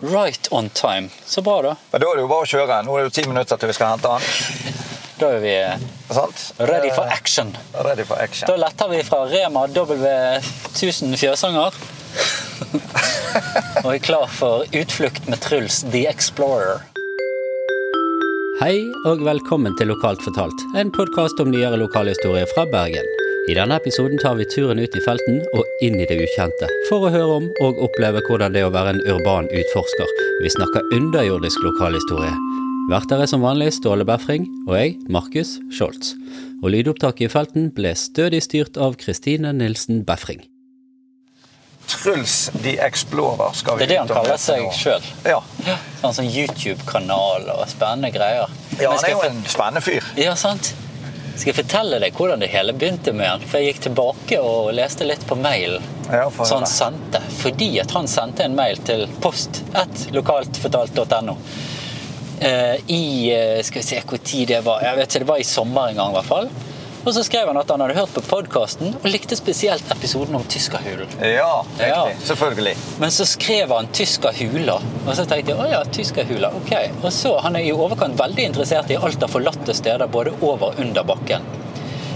Right on time. Så bra, da. Men da er det jo bare å kjøre. Nå er det jo ti minutter til vi skal hente han. Da er vi eh, Sant? ready for Eh, action. Ready for Da action. letter vi fra Rema W1000 Fjøsanger. Og er klar for utflukt med Truls The Explorer. Hei og velkommen til Lokalt fortalt, en podkast om nyere lokalhistorie fra Bergen. I denne episoden tar vi turen ut i felten og inn i det ukjente, for å høre om og oppleve hvordan det er å være en urban utforsker. Vi snakker underjordisk lokalhistorie. Verter er som vanlig Ståle Befring og jeg, Markus Scholz. Og lydopptaket i felten ble stødig styrt av Kristine Nilsen Befring. Truls the Explorer skal vi Det er det han ut og kaller møte seg nå. sjøl. Ja. Sånn som YouTube-kanal og spennende greier. ja, Men han er skal jo jeg en spennende fyr. for- ja, sant? Skal jeg fortelle deg hvordan det hele begynte med han? For jeg gikk tilbake og leste litt på mailen Ja, få som han høre. sendte. Fordi at han sendte en mail til post 1 lokaltfortalt.no. Eh, I eh, Skal vi se hvor tid det var? Jeg vet ikke, Det var i sommer en gang, i hvert fall. Og så skrev han at han hadde hørt på podkasten og likte spesielt episoden om tyskerhulen. Ja, riktig. Ja. Selvfølgelig. Men så skrev han 'Tysker hula', og så tenkte jeg å ja, tysker hula, ok. Og så, Han er i overkant veldig interessert i alt av forlatte steder, både over og under bakken.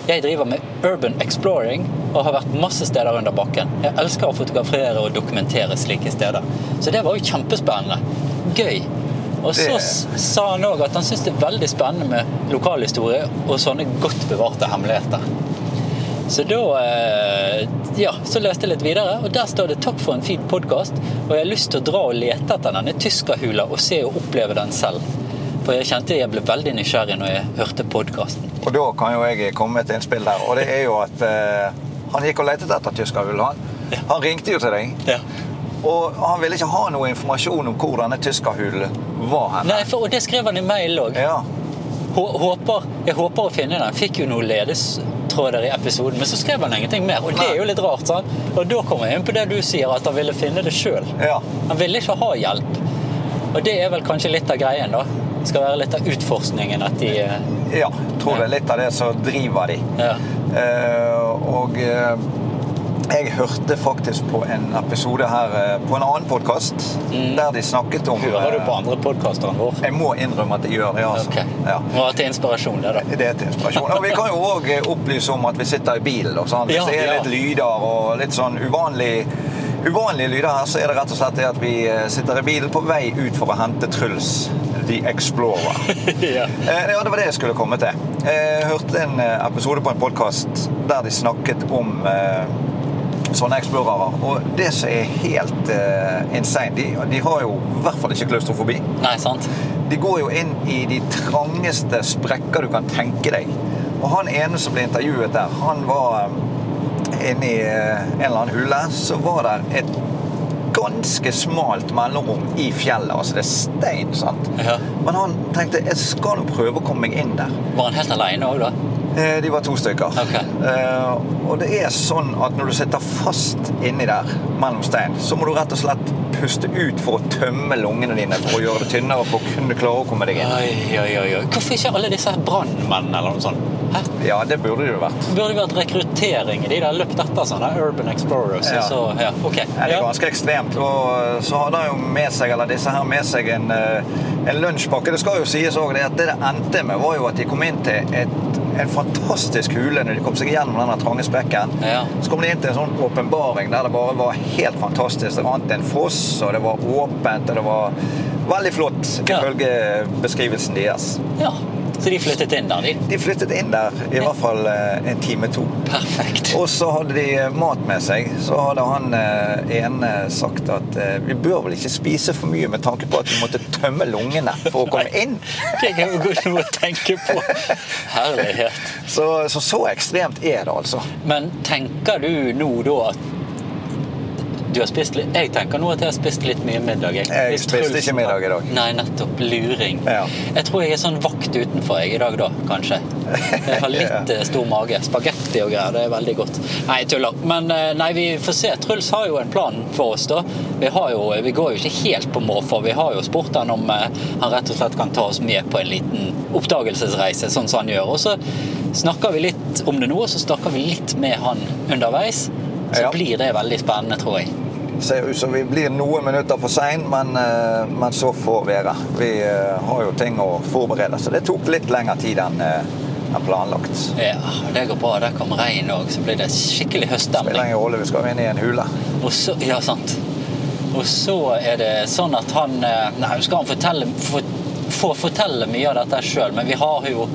Jeg driver med urban exploring og har vært masse steder under bakken. Jeg elsker å fotografere og dokumentere slike steder. Så det var jo kjempespennende. Gøy. Og så Det- s- sa han òg at han syns det er veldig spennende med lokalhistorie og sånne godt bevarte hemmeligheter. Så da eh, ja, så leste jeg litt videre, og der står det 'takk for en fin podkast', og jeg har lyst til å dra og lete etter denne tyskerhula og se og oppleve den selv. For jeg kjente jeg ble veldig nysgjerrig når jeg hørte podkasten. Og da kan jo jeg komme med et innspill der. Og det er jo at eh, han gikk og lette etter tyskerhull, han. Han ringte jo til deg. Ja. Og han ville ikke ha noe informasjon om hvor denne tyskerhulen var hen. Nei, for, og det skrev han i mail òg. Ja. Håper, jeg håper å finne den. Fikk jo noen ledestråder i episoden, men så skrev han ingenting mer. Og det er jo litt rart, sant? Og da kommer jeg inn på det du sier, at han ville finne det sjøl. Ja. Han ville ikke ha hjelp. Og det er vel kanskje litt av greien, da. Det skal være litt av utforskningen at de eh, ja. Tror det er litt av det som driver de. Ja. Eh, og eh, jeg hørte faktisk på en episode her eh, på en annen podkast der de snakket om Mm. Hører du eh, på andre podkaster enn vår? Jeg må innrømme at jeg gjør det, altså. Ok. Ja. Må ha til inspirasjon, det, da. Det er til inspirasjon. Og vi kan jo òg opplyse om at vi sitter i bilen. Og sånn. Hvis Ja, det er ja. litt lyder og litt sånn uvanlig, uvanlige lyder her, så er det rett og slett det at vi eh, sitter i bilen på vei ut for å hente Truls The Explorer. ja. Eh, Ja, det var det jeg skulle komme til. Jeg hørte en eh, episode på en podkast der de snakket om eh, sånne eksplorer. Og det som er helt eh, insane de, de har jo i hvert fall ikke klaustrofobi. Nei, sant? De går jo inn i de trangeste sprekker du kan tenke deg. Og han ene som ble intervjuet der, han var eh, inne i eh, en eller annen hule. Så var det et ganske smalt mellomrom i fjellet. Altså det er stein, sant. Ja. Men han tenkte jeg skal nå prøve å komme meg inn der. Var han helt aleine òg, da? Eh, De var to stykker. Ok. Eh, Og det er sånn at når du sitter fast inni der mellom stein, så må du rett og slett puste ut for å tømme lungene dine for å gjøre det tynnere for å kunne klare å komme deg inn. Oi, oi, oi. oi. Hvorfor ikke alle disse her brannmenn eller noe sånt? Hæ? Ja, det burde det jo vært. Burde det vært rekruttering i de der løpt etter sånne Urban Explorers? Ja. Ja. Så, ja. Ok. Ja, Det er Ja. ganske ekstremt. Og eh, så hadde han jo med seg eller disse her med seg en, eh, en lunsjpakke. Det skal jo sies òg at det det endte med, var jo at de kom inn til et, en fantastisk hule når de kom seg gjennom den trange sprekken. Ja. Så kom de inn til en sånn åpenbaring der det bare var helt fantastisk. Det rant en foss, og det var åpent, og det var veldig flott Ja. ifølge beskrivelsen deres. ja. Så de flyttet inn der, de. De flyttet inn der i hvert fall eh, en time to. Perfekt. Og så hadde de eh, mat med seg. Så hadde han eh, ene sagt at eh, vi bør vel ikke spise for mye med tanke på at vi måtte tømme lungene for å komme inn. Det er jo godt noe å tenke på. Herlighet. Så så, så ekstremt er det, altså. Men tenker du nå da at du har spist litt Jeg tenker nå at jeg har spist litt mye middag. Jeg Hvis spiste Truls- ikke middag i dag. Nei, nettopp. Luring. Ja. Jeg tror jeg er sånn vakt utenfor jeg i dag, da, kanskje. Jeg har litt Ja. eh, stor mage. Spagetti og greier, det er veldig godt. Nei, jeg tuller. Men eh, nei, vi får se. Truls har jo en plan for oss, da. Vi, har jo, vi går jo ikke helt på måfå. Vi har jo spurt han om eh, han rett og slett kan ta oss med på en liten oppdagelsesreise, sånn som han gjør. Og så snakker vi litt om det nå, og så snakker vi litt med han underveis. Så Ja. blir det veldig spennende, tror jeg. Ser ut som vi blir noen minutter for sein, men, eh, men så får være. Vi eh, har jo ting å forberede, så det tok litt lengre tid enn eh, enn planlagt. Ja, det går bra. Der kom regn òg, så blir det skikkelig høststemning. Spiller ingen rolle, vi skal jo inn i en hule. Og så, ja, sant. Og så er det sånn at han eh, Nei, nå skal han fortelle, for, få fortelle mye av dette sjøl, men vi har jo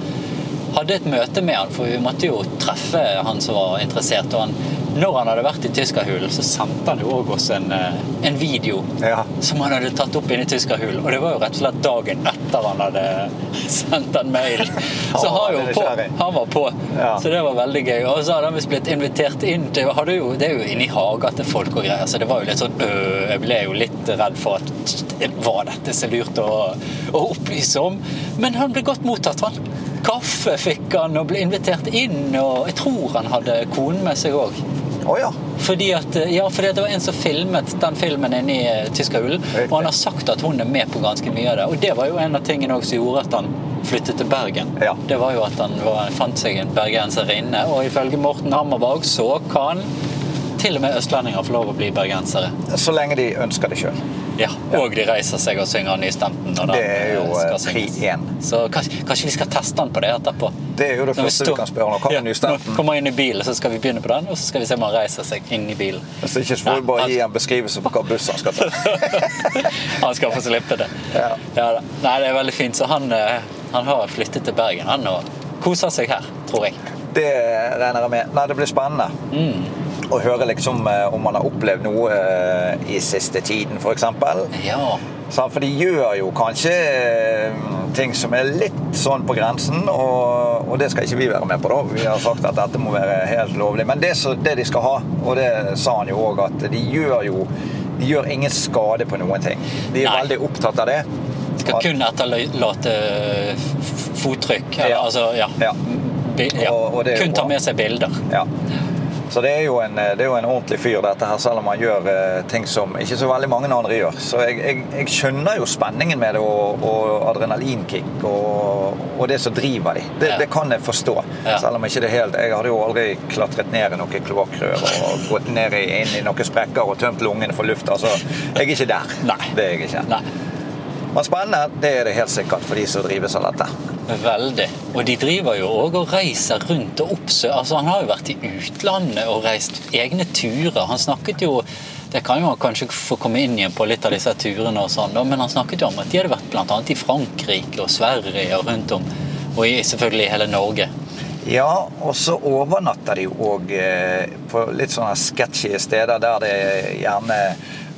hadde et møte med han, for vi måtte jo treffe han som var interessert. Og han, når han hadde vært i tyskerhulen, så sendte han jo òg oss en, eh, en video Ja. som han hadde tatt opp inni tyskerhulen. Og det var jo rett og slett dagen etter han hadde sendt den mailen. Så Han var han, jo veldig på, kjæring. han var på. Ja. Så det var veldig gøy. Og så hadde han visst blitt invitert inn til hadde jo, Det er jo inni hager til folk og greier, så det var jo litt sånn øh, Jeg ble jo litt redd for at Var dette så lurt å, å opplyse om? Men han ble godt mottatt, han. Kaffe fikk han og ble invitert inn, og jeg tror han hadde konen med seg òg. Å ja. Fordi at, ja, fordi at det var en som filmet den filmen inne i eh, Tyskerhulen. Riktig. Og han har sagt at hun er med på ganske mye av det. Og det var jo en av tingene også som gjorde at han flyttet til Bergen. Ja. Det var jo at han var, fant seg en bergenserinne. Og ifølge Morten Hammerberg så kan til og med østlendinger få lov å bli bergensere. Så lenge de ønsker det sjøl. Ja, Og de reiser seg og synger Nystemten. når den, Det er jo eh, eh, skal pri synges. én. Så kanskje, kanskje vi skal teste den på det etterpå? Det er jo det Når vi første du står- kan spørre om. Hva Ja, er nystemten? Når vi kommer inn i bilen, så skal vi begynne på den, og så skal vi se om han reiser seg inn i bilen. Hvis ikke så får vi bare gi altså- en beskrivelse på hva buss han skal ta. han skal få slippe det. Ja. da. Nei, det er veldig fint. Så han, eh, han har flyttet til Bergen, han, og koser seg her, tror jeg. Det regner jeg med. Nei, det blir spennende. Mm. Å høre liksom eh, om man har opplevd noe eh, i siste tiden, f.eks. Ja. For de gjør jo kanskje eh, ting som er litt sånn på grensen, og, og det skal ikke vi være med på, da. Vi har sagt at dette må være helt lovlig. Men det, så, det de skal ha, og det sa han jo òg, at de gjør jo de gjør ingen skade på noen ting. De er Nei. veldig opptatt av det. Skal At- kun etterlate eh, f- fottrykk. Eller, Ja. Altså, ja. Ja. Bi ja. Og- og det er jo kun ta bra. med seg bilder. Ja. Så det er, jo en, eh, det er jo en ordentlig fyr, dette her, selv om han gjør eh, ting som ikke så veldig mange andre gjør. Så jeg, jeg, jeg skjønner jo spenningen med det, og, og adrenalinkick og, og det som driver de. Det, Ja. det kan jeg forstå. Ja. Selv om ikke det helt Jeg hadde jo aldri klatret ned i noen kloakkrør og gått ned i, inn i noen sprekker og tømt lungene for luft. Altså, jeg er ikke der. Nei. Det er jeg ikke. Nei, Men spennende, det er det helt sikkert for de som drives av dette. veldig. Og de driver jo òg og reiser rundt og oppsøker Altså, han har jo vært i utlandet og reist egne turer. Han snakket jo Det kan jo han kanskje få komme inn igjen på litt av disse turene og sånn, da, men han snakket jo om at de hadde vært bl.a. i Frankrike og Sverige og rundt om. Og i, selvfølgelig i hele Norge. Ja, og så overnatter de jo òg eh, på litt sånne sketchy steder der det gjerne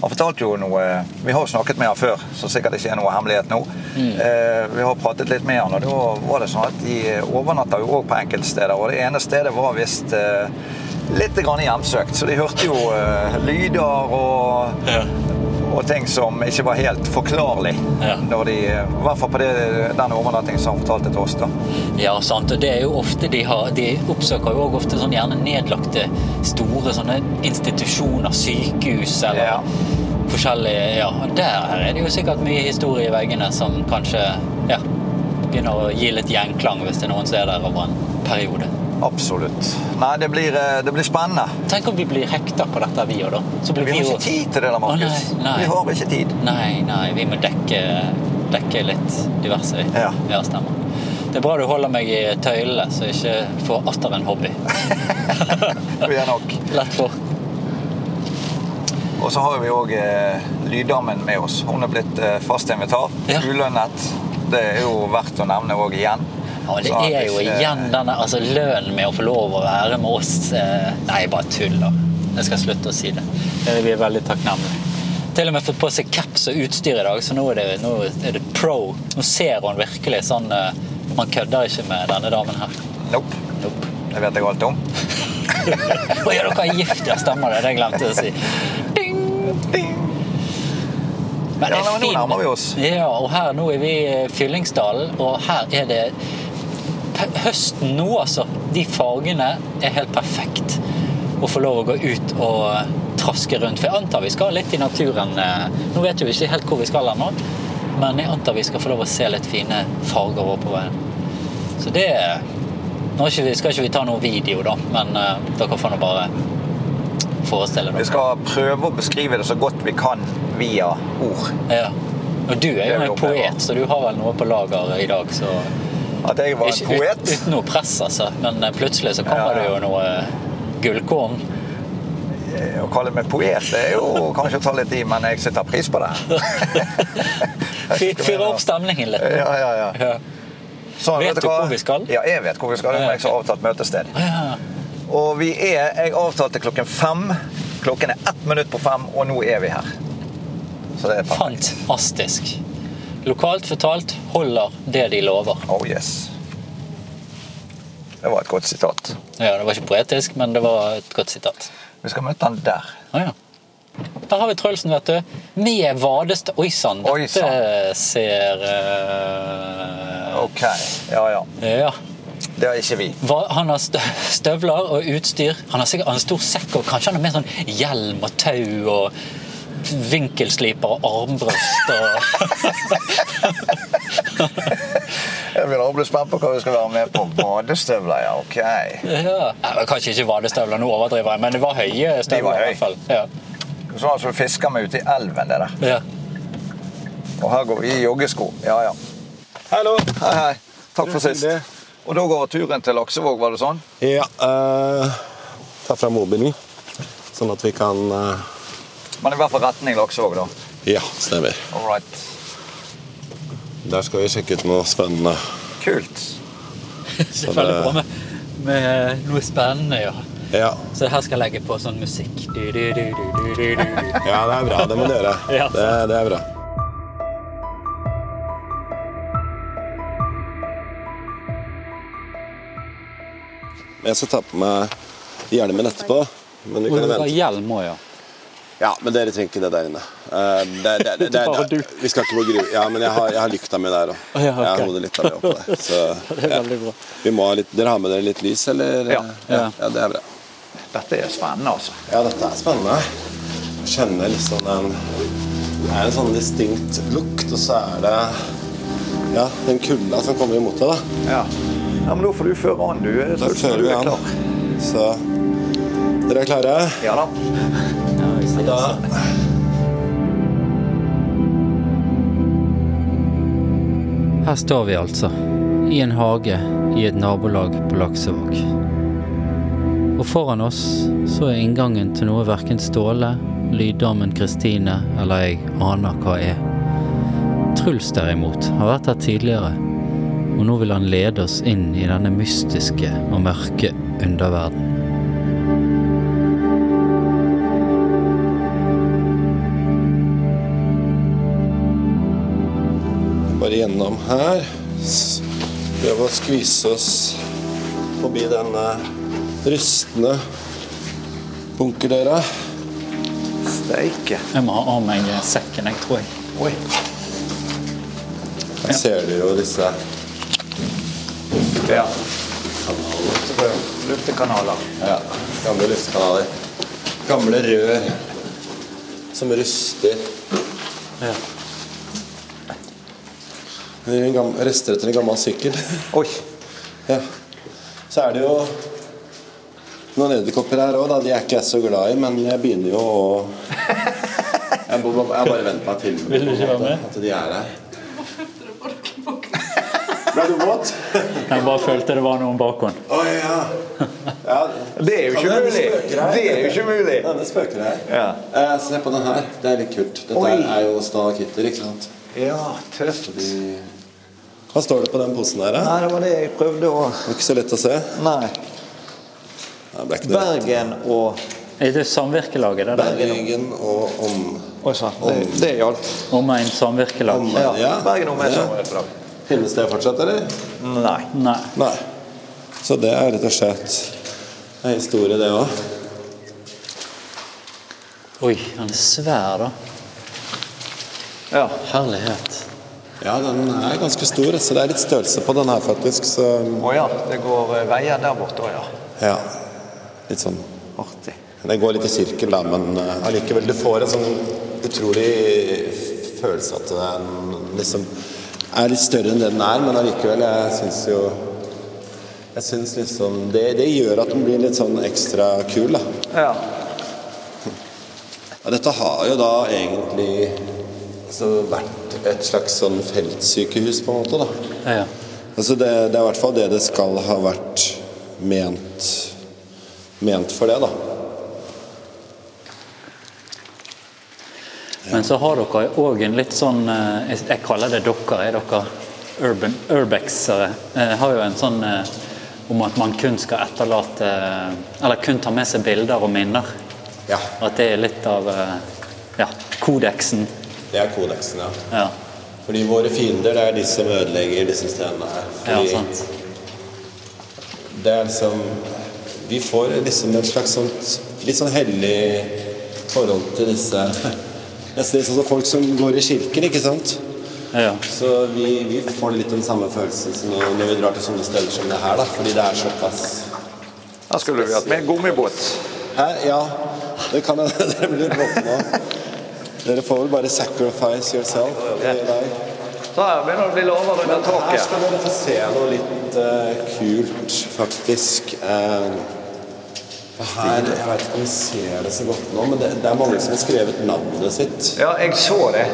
Han fortalte jo noe Vi har jo snakket med han før, så sikkert ikke er noe hemmelighet nå. Eh, Vi har pratet litt med han, og da var det sånn at de overnatter jo òg på enkelte steder. Og det ene stedet var visst eh, litt grann hjemsøkt, så de hørte jo eh, lyder og Ja. og ting som ikke var helt forklarlig. Ja. Når de, I hvert fall på det, den overnattingen som han fortalte til oss. da. Ja, sant. Og det er jo ofte de har De oppsøker jo også ofte sånn gjerne nedlagte store sånne institusjoner, sykehus eller Ja. forskjellige Ja, og der er det jo sikkert mye historie i veggene som kanskje ja, begynner å gi litt gjenklang hvis det er noen som er der over en periode. Absolutt. Nei, det blir, eh, det blir spennende. Tenk om vi blir hekta på dette, vi òg, da. Så blir Vi vi har jo ikke tid til det, da, Markus. Å, nei, nei. Vi har ikke tid. Nei, nei, vi må dekke, dekke litt diverse. vi. Ja. ja, stemmer. Det er bra du holder meg i tøylene, så jeg ikke får atter en hobby. Vi er nok. Lett for. Og så har vi òg eh, Lyddamen med oss. Hun er blitt eh, fast invitar. Ja. Ulønnet. Det er jo verdt å nevne òg igjen. Ja, det Så at er jo ikke- igjen denne altså, lønnen med å få lov å være med oss. eh, Nei, jeg bare tuller. Jeg skal slutte å si det. Eh, Vi er veldig takknemlige. Til og med fått på seg caps og utstyr i dag, så nå er det, nå er det pro. Nå ser hun virkelig sånn eh, Man kødder ikke med denne damen her. Nope. Det vet jeg alt om. Å ja, dere er gift, ja, stemmer det. Det glemte jeg å si. Ding! Ding! Men det er Ja, nei, men nå fin- nærmer vi oss. Ja, og her nå er vi i Fyllingsdalen, og her er det P- Høsten nå, altså. De fargene er helt perfekt å få lov å gå ut og eh, traske rundt. For jeg antar vi skal litt i naturen. eh, Nå vet jo vi ikke helt hvor vi skal ennå, men jeg antar vi skal få lov å se litt fine farger over på veien. Så det Nå er ikke vi- skal ikke vi ta noen video, da, men eh, dere får nå bare forestille Vi dere. skal prøve å beskrive det så godt vi kan via ord. Ja. Og du er Det jo er en jo poet, bra. så du har vel noe på lager i dag, så At jeg var en Ikke ut, poet. uten noe press, altså. Men eh, plutselig så kommer Ja, det ja. jo noe eh, gullkorn. Eh, Å kalle meg poet det er jo kanskje å ta litt i, men jeg setter pris på det. Fy- Fyre opp stemningen litt. Ja, ja, ja. Ja. Sånn, Vet du hva? hvor vi skal? Ja, jeg vet hvor vi skal. Ja, men Jeg har ok. avtalt møtested. Ja. Og vi er Jeg avtalte klokken fem. Klokken er ett minutt på fem, og nå er vi her. Så det er perfekt. Fantastisk. Lokalt fortalt holder det de lover. Oh yes. Det var et godt sitat. Ja, Det var ikke poetisk, men det var et godt sitat. Vi skal møte han der. Ah, ja. Der har vi Trølsen, vet du. Med vadeste Oi sann, dette Oi, sann. ser eh, Ok. Ja, ja. Ja. Det er ikke vi. Hva, han har stø- støvler og utstyr. Han har sikkert han har en stor sekk og kanskje han har med sånn hjelm og tau og vinkelsliper og armbrøst og Jeg blir aldri spent på hva vi skal være med på. Badestøvler, ja. Ok. ja. Nei, Kanskje ikke vadestøvler, nå overdriver jeg, men det var høye støvler. De var i hvert fall. Ja. Sånn altså, du fisker meg ute i elven, det der. Ja. Og her går vi i joggesko. Ja, ja. Hallo. Hei, hei. Takk for sist. Det. Og da går turen til Laksevåg, var det sånn? Ja, eh, ta fram mobilen, sånn at vi kan eh, Men i hvert fall retning Laksevåg, da. Ja, stemmer. All right. Der skal vi sjekke ut noe spennende. Kult. Det er veldig bra med, med eh, noe spennende, ja. Ja, Så her skal jeg legge på sånn musikk. Du, du, du, du, du, du, du. ja det er bra. Det må du gjøre. Ja. Det, det er bra. Jeg skal ta på meg hjelmen etterpå. Men vi Og kan du jo har vente. hjelm òg, ja. Ja, men dere trenger ikke det der inne. Eh, det, det, det, det, Bare du. det, vi skal ikke på gru... Ja, men jeg har, jeg har lykta mi der òg. Å, ja, ok. Jeg har hodet litt av det oppå der. Så, Det er veldig bra. Vi må ha litt, dere har med dere litt lys, eller? Ja. ja. ja, det er bra. Dette er spennende, altså. Ja, dette er spennende. Jeg kjenner litt sånn en Det er en sånn distinkt lukt, og så er det ja, den kulda som kommer imot deg, da. Ja. ja men nå får du føre an, du. Jeg Da tror fører du vi er an. klar. Så Dere er klare? Ja da. Da Her står vi altså, i en hage i et nabolag på Laksevåg. Og foran oss så er inngangen til noe verken Ståle, lyddamen Kristine eller jeg aner hva er. Truls derimot har vært her tidligere, og nå vil han lede oss inn i denne mystiske og mørke underverden. bare gjennom her. S- Prøve å skvise oss forbi denne rustne bunkerdøra. Steike. Jeg må ha av meg sekken, jeg tror jeg. Oi. Her ser du jo disse Ja. kanalene. Luftekanaler. Ja, gamle luftkanaler. Gamle rør som ruster. Ja. Det er en gam- Rester etter en gammel sykkel. Oi. Ja. Så er det jo noen edderkopper her òg, da. De er ikke jeg så glad i, men jeg begynner jo å Jeg må- jeg har bare vent meg til Vil du ikke være med? at de er her. Ble du våt? Jeg bare følte det var noen bakhånd. Å ja. ja. Det er jo ikke Ja, men mulig. spøker her. Det er jo ikke mulig. Denne spøker her. Ja. Eh, se på den her. Det er litt kult. Dette Oi. er jo Stalakitter, ikke sant? Ja, tøft. Nei, Hva står det på den posen her? da? det var det jeg prøvde å Det var ikke så lett å se. Nei. Det ble ikke noe lett. Bergen og Er det samvirkelaget det Bergen og om... Oi sann. Det, det gjaldt. Omegn samvirkelag? om Ja. ja. Bergen og Ja. Mesamordag. Finnes det fortsatt, eller? Nei. Nei. Nei. Så det er rett og slett en historie, det òg. Oi, han er svær, da. Ja. Herlighet. Ja, den er ganske stor, så det er litt størrelse på den her, faktisk. Så mm, Å ja. Det går eh, veier der borte òg, ja. ja. Litt sånn Artig. Det går litt i sirkel, da, men eh, allikevel. Du får en sånn utrolig følelse at den liksom er litt større enn det den er, men allikevel, jeg syns jo sånn Jeg syns liksom det, det gjør at den blir litt sånn ekstra kul, da. Ja. Ja, dette har jo da egentlig altså, vært et slags sånn feltsykehus, på en måte. da. Ja, ja. Altså det, det er i hvert fall det det skal ha vært ment, ment for det, da. Men så har dere òg en litt sånn eh, Jeg jeg kaller det dere, er dere urban, urbexere. Eh, Har jo en sånn eh, om at man kun skal etterlate eh, Eller kun ta med seg bilder og minner. Ja. At det er litt av eh, ja, kodeksen. Det er kodeksen, ja. Ja, Fordi våre fiender, det er de som ødelegger disse stedene her. ja Fordi sant. Det er liksom Vi får liksom et slags sånt litt sånn hellig forhold til disse Nesten litt sånn som folk som går i kirken, ikke sant? Ja, Så vi, vi får litt den samme følelsen som når når vi drar til sånne steder som det her, da. Fordi det er såpass Da skulle vi hatt med gummibåt. Her, ja. Det kan hende dere blir våkne av. Dere får vel bare 'sacrifice yourself'. i dag. Så her begynner det å bli lavere under Her taket. skal dere få se noe litt eh, kult, faktisk. Eh, her, jeg vet ikke om vi ser det så godt nå, men det, det er mange som har skrevet navnet sitt Ja, jeg så det.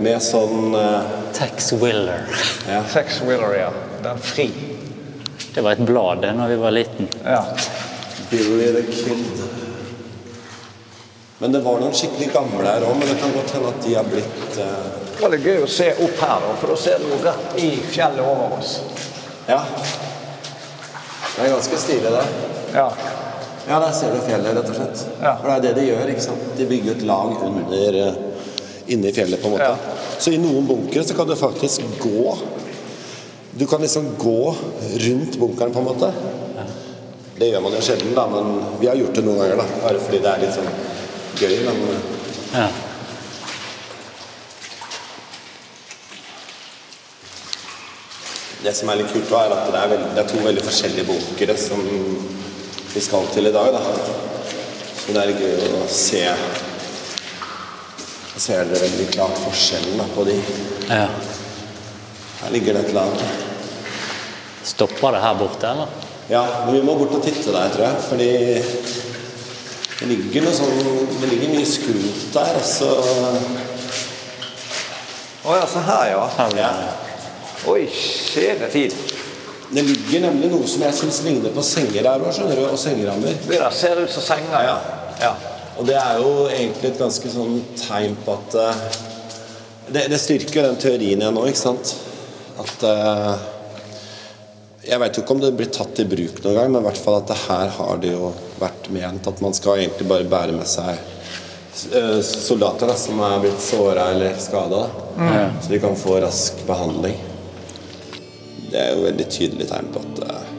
med sånn eh, Tex Willer. Sex Wheeler, ja. Den fri. Det var et blad det når vi var liten. Ja. Billy the Kid. Men det var noen skikkelig gamle her òg, men det kan godt hende at de har blitt eh, Det var litt gøy å se opp her, da, for da ser du jo rett i fjellet over oss. Ja. Det er ganske stilig, det. Ja. Ja, der ser du fjellet, rett og slett. Ja. For det er det de gjør, ikke sant. De bygger et lag under eh, inni fjellet, på en måte. Ja. Så i noen bunkere så kan du faktisk gå. Du kan liksom gå rundt bunkeren, på en måte. Det gjør man jo sjelden, da, men vi har gjort det noen ganger, da. Bare fordi det er litt sånn gøy, men eh, Ja. Det som er litt kult, da, er at det er, veld- det er to veldig forskjellige bunkere som vi skal til i dag. Da. Så det er gøy å se Ser dere veldig klart forskjellen da, på de. ja. Her ligger det et eller annet. Stopper det her borte, eller? Ja, men vi må bort og titte der, tror jeg. Fordi det ligger noe sånn Det ligger mye skrot der, og så Å ja, så her, ja. Her vil ja. jeg- Oi, skjede tid. Det ligger nemlig noe som jeg syns ligner på senger her òg, skjønner du. Og sengerammer. Det der ser ut som senger, ja. ja. Og det er jo egentlig et ganske sånn tegn på at eh, det, det styrker jo den teorien igjen nå, ikke sant? At eh, Jeg veit jo ikke om det blir tatt i bruk noen gang, men i hvert fall at det her har det jo vært ment at man skal egentlig bare bære med seg eh, soldater da, som er blitt såra eller skada, så de kan få rask behandling. Det er jo veldig tydelig tegn på at eh,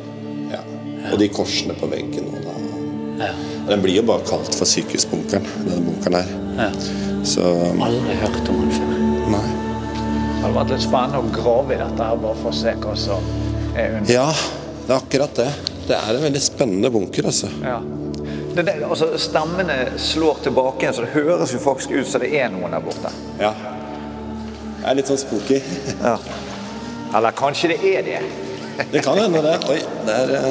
ja. Og de korsene på veggen og da Ja. den blir jo bare kalt for sykehusbunkeren, denne bunkeren her. ja. Så Aldri hørt om han før. Nei. Det hadde vært litt spennende å grave i dette her, bare for å se hva som er under. Ja, det er akkurat det. Det er en veldig spennende bunker, altså. Ja. Det, det, altså, stemmene slår tilbake igjen, så det høres jo faktisk ut som det er noen der borte. Ja. Det er litt sånn spooky. Ja. Eller kanskje det er det. Det kan hende, det. Oi, der eh,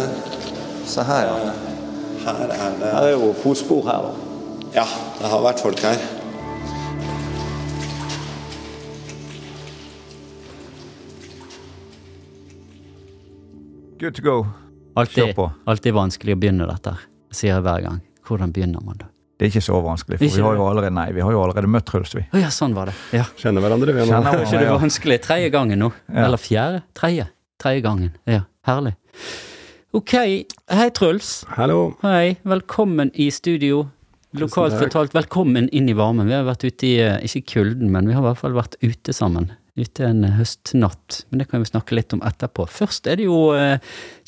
Se her, ja. Her er det Her er jo fotspor her, da. Ja, det har vært folk her. Good to go. Kjør Alltid, på. alltid vanskelig å begynne dette, her, sier jeg hver gang. Hvordan begynner man da? Det er ikke så vanskelig, for Ikke vi har jo det? allerede, nei, vi har jo allerede møtt Truls, vi. Å ja, sånn var det. Ja. Kjenner hverandre, vi Kjenner Det var ikke hverandre, det ja. vanskelig. Tredje gangen nå. Ja. Eller fjerde? Tredje. Tredje gangen. Ja, herlig. Ok. Hei, Truls. Hallo. Hei. Velkommen i studio. Lokalt takk. fortalt, velkommen inn i varmen. Vi har vært ute i, eh, ikke kulden, men vi har i hvert fall vært ute sammen. Ute en eh, høstnatt. Men det kan vi snakke litt om etterpå. Først er det jo eh,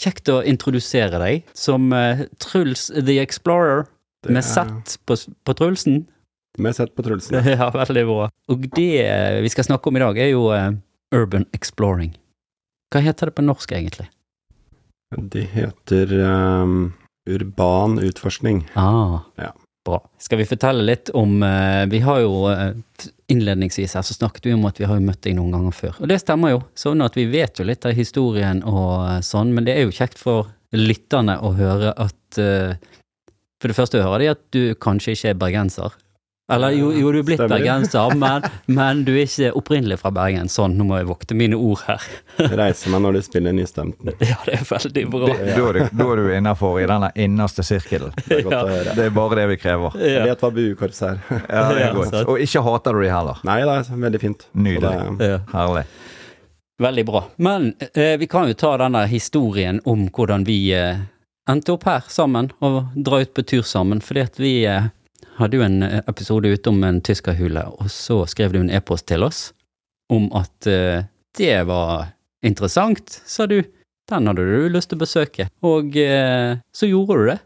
kjekt å introdusere deg som eh, Truls the Explorer. Med Z på, på Trulsen. Med sett på Trulsen. Ja, veldig bra. Og det eh, vi skal snakke om i dag, er jo eh, urban exploring. Hva heter det på norsk, egentlig? De heter ehm, Urban utforskning. Ah, Ja. Bra. Skal vi fortelle litt om eh, Vi har jo eh, innledningsvis her så snakket vi om at vi har jo møtt deg noen ganger før. Og det stemmer jo, sånn at vi vet jo litt av historien og eh, sånn, men det er jo kjekt for lytterne å høre at eh, For det første hører de at du kanskje ikke er bergenser, Eller jo, jo du er blitt Stemmer. bergenser, men, men du er ikke opprinnelig fra Bergen. Sånn, nå må jeg vokte mine ord her. Reiser meg når du spiller Nystemten. Ja, det er veldig bra. Da er du, da er du innafor i denne innerste sirkelen. Det er godt å høre. Det er bare det vi krever. Ja. Jeg vet hva buekorps er. Ja, det Ja, er godt. sant. Og ikke hater du de heller. Nei da, veldig fint. Nydelig. Og det- Ja. Herlig. Veldig bra. Men eh, vi kan jo ta denne historien om hvordan vi eh, endte opp her sammen, og dra ut på tur sammen. Fordi at vi eh, hadde jo en eh, episode ute om en tyskerhule, og så skrev du en e-post til oss om at eh, det var interessant, sa du. Den hadde du lyst til å besøke. Og eh, så gjorde du det.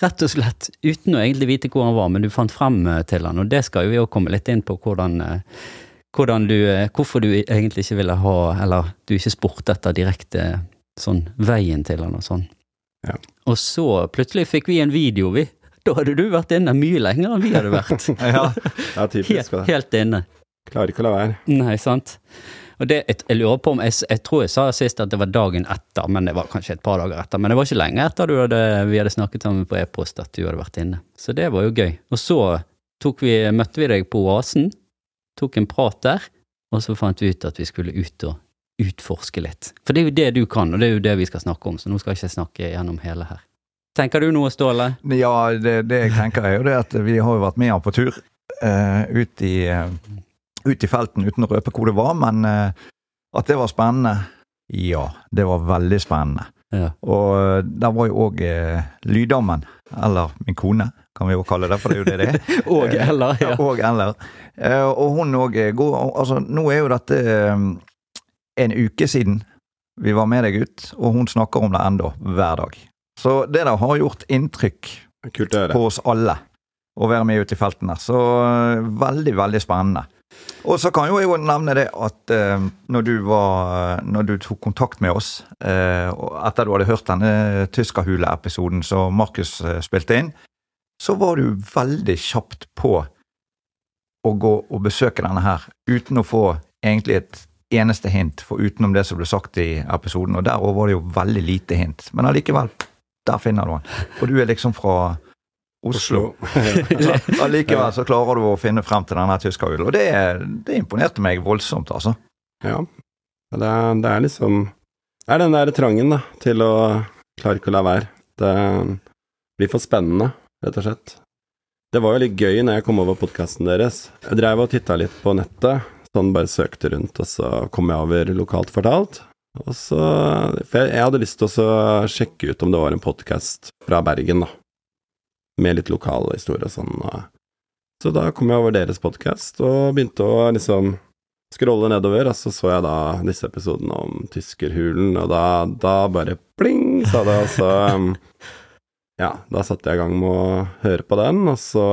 Rett og slett, uten å egentlig vite hvor han var, men du fant frem eh, til han, og det skal jo vi også komme litt inn på, hvordan eh, hvordan du, eh, hvorfor du egentlig ikke ville ha, eller du ikke spurte etter direkte sånn veien til han og sånn. Ja. Og så plutselig fikk vi en video, vi. Da hadde du vært inne mye lenger enn vi hadde vært. Ja, Ja, Helt, typisk. og det- helt inne. Klarer ikke å la være. Nei, sant. Og det, jeg, jeg lurer på om, jeg, s- jeg tror jeg sa sist at det var dagen etter, men det var kanskje et par dager etter. Men det var ikke lenge etter du hadde, vi hadde snakket sammen på e-post at du hadde vært inne. Så det var jo gøy. Og så tok vi, møtte vi deg på Oasen, tok en prat der, og så fant vi ut at vi skulle ut og utforske litt. For det er jo det du kan, og det er jo det vi skal snakke om, så nå skal jeg ikke snakke gjennom hele her. Tenker du noe, Ståle? ja det, det jeg tenker er jo det at vi har jo vært med han på tur eh, ut, i, eh, ut i felten uten å røpe hvor det var, men eh, at det var spennende. Ja, det var veldig spennende. Ja. Og eh, der var jo òg eh, Lydammen, eller min kone, kan vi jo kalle det, for det er jo det det er. Og eller? Ja. Og eller. Eh, Og hun òg er god. Og, Altså, nå er jo dette eh, en uke siden vi var med deg ut, og hun snakker om det ennå, hver dag. Så det der har gjort inntrykk Kult å høre. på oss alle å være med ut i felten der. Så eh, veldig, veldig spennende. Og så kan jo jeg jo nevne det at eh, når, du var, eh, når du tok kontakt med oss eh, og etter du hadde hørt denne Tyskerhule-episoden som Markus eh, spilte inn, så var du veldig kjapt på å gå og besøke denne her uten å få egentlig et eneste hint, for utenom det som ble sagt i episoden. Og der også var det jo veldig lite hint. Men allikevel, der finner du den. Og du er liksom fra Oslo. Ja, Allikevel så klarer du å finne frem til denne tyskerhulen, og det, det imponerte meg voldsomt, altså. Ja. Ja, Det er, det er liksom Det er den der trangen, da, til å klare ikke å la være. Det blir for spennende, rett og slett. Det var jo litt gøy når jeg kom over podkasten deres. Jeg dreiv og titta litt på nettet, sånn bare søkte rundt, og så kom jeg over Lokalt fortalt. Og så For jeg, jeg hadde lyst til å så sjekke ut om det var en podkast fra Bergen, da. Med litt lokal historie og sånn. og- Så da kom jeg over deres podkast, og begynte å liksom scrolle nedover, og så så jeg da disse episodene om tyskerhulen, og da, da bare pling, sa det, og så um, Ja, da satte jeg i gang med å høre på den, og så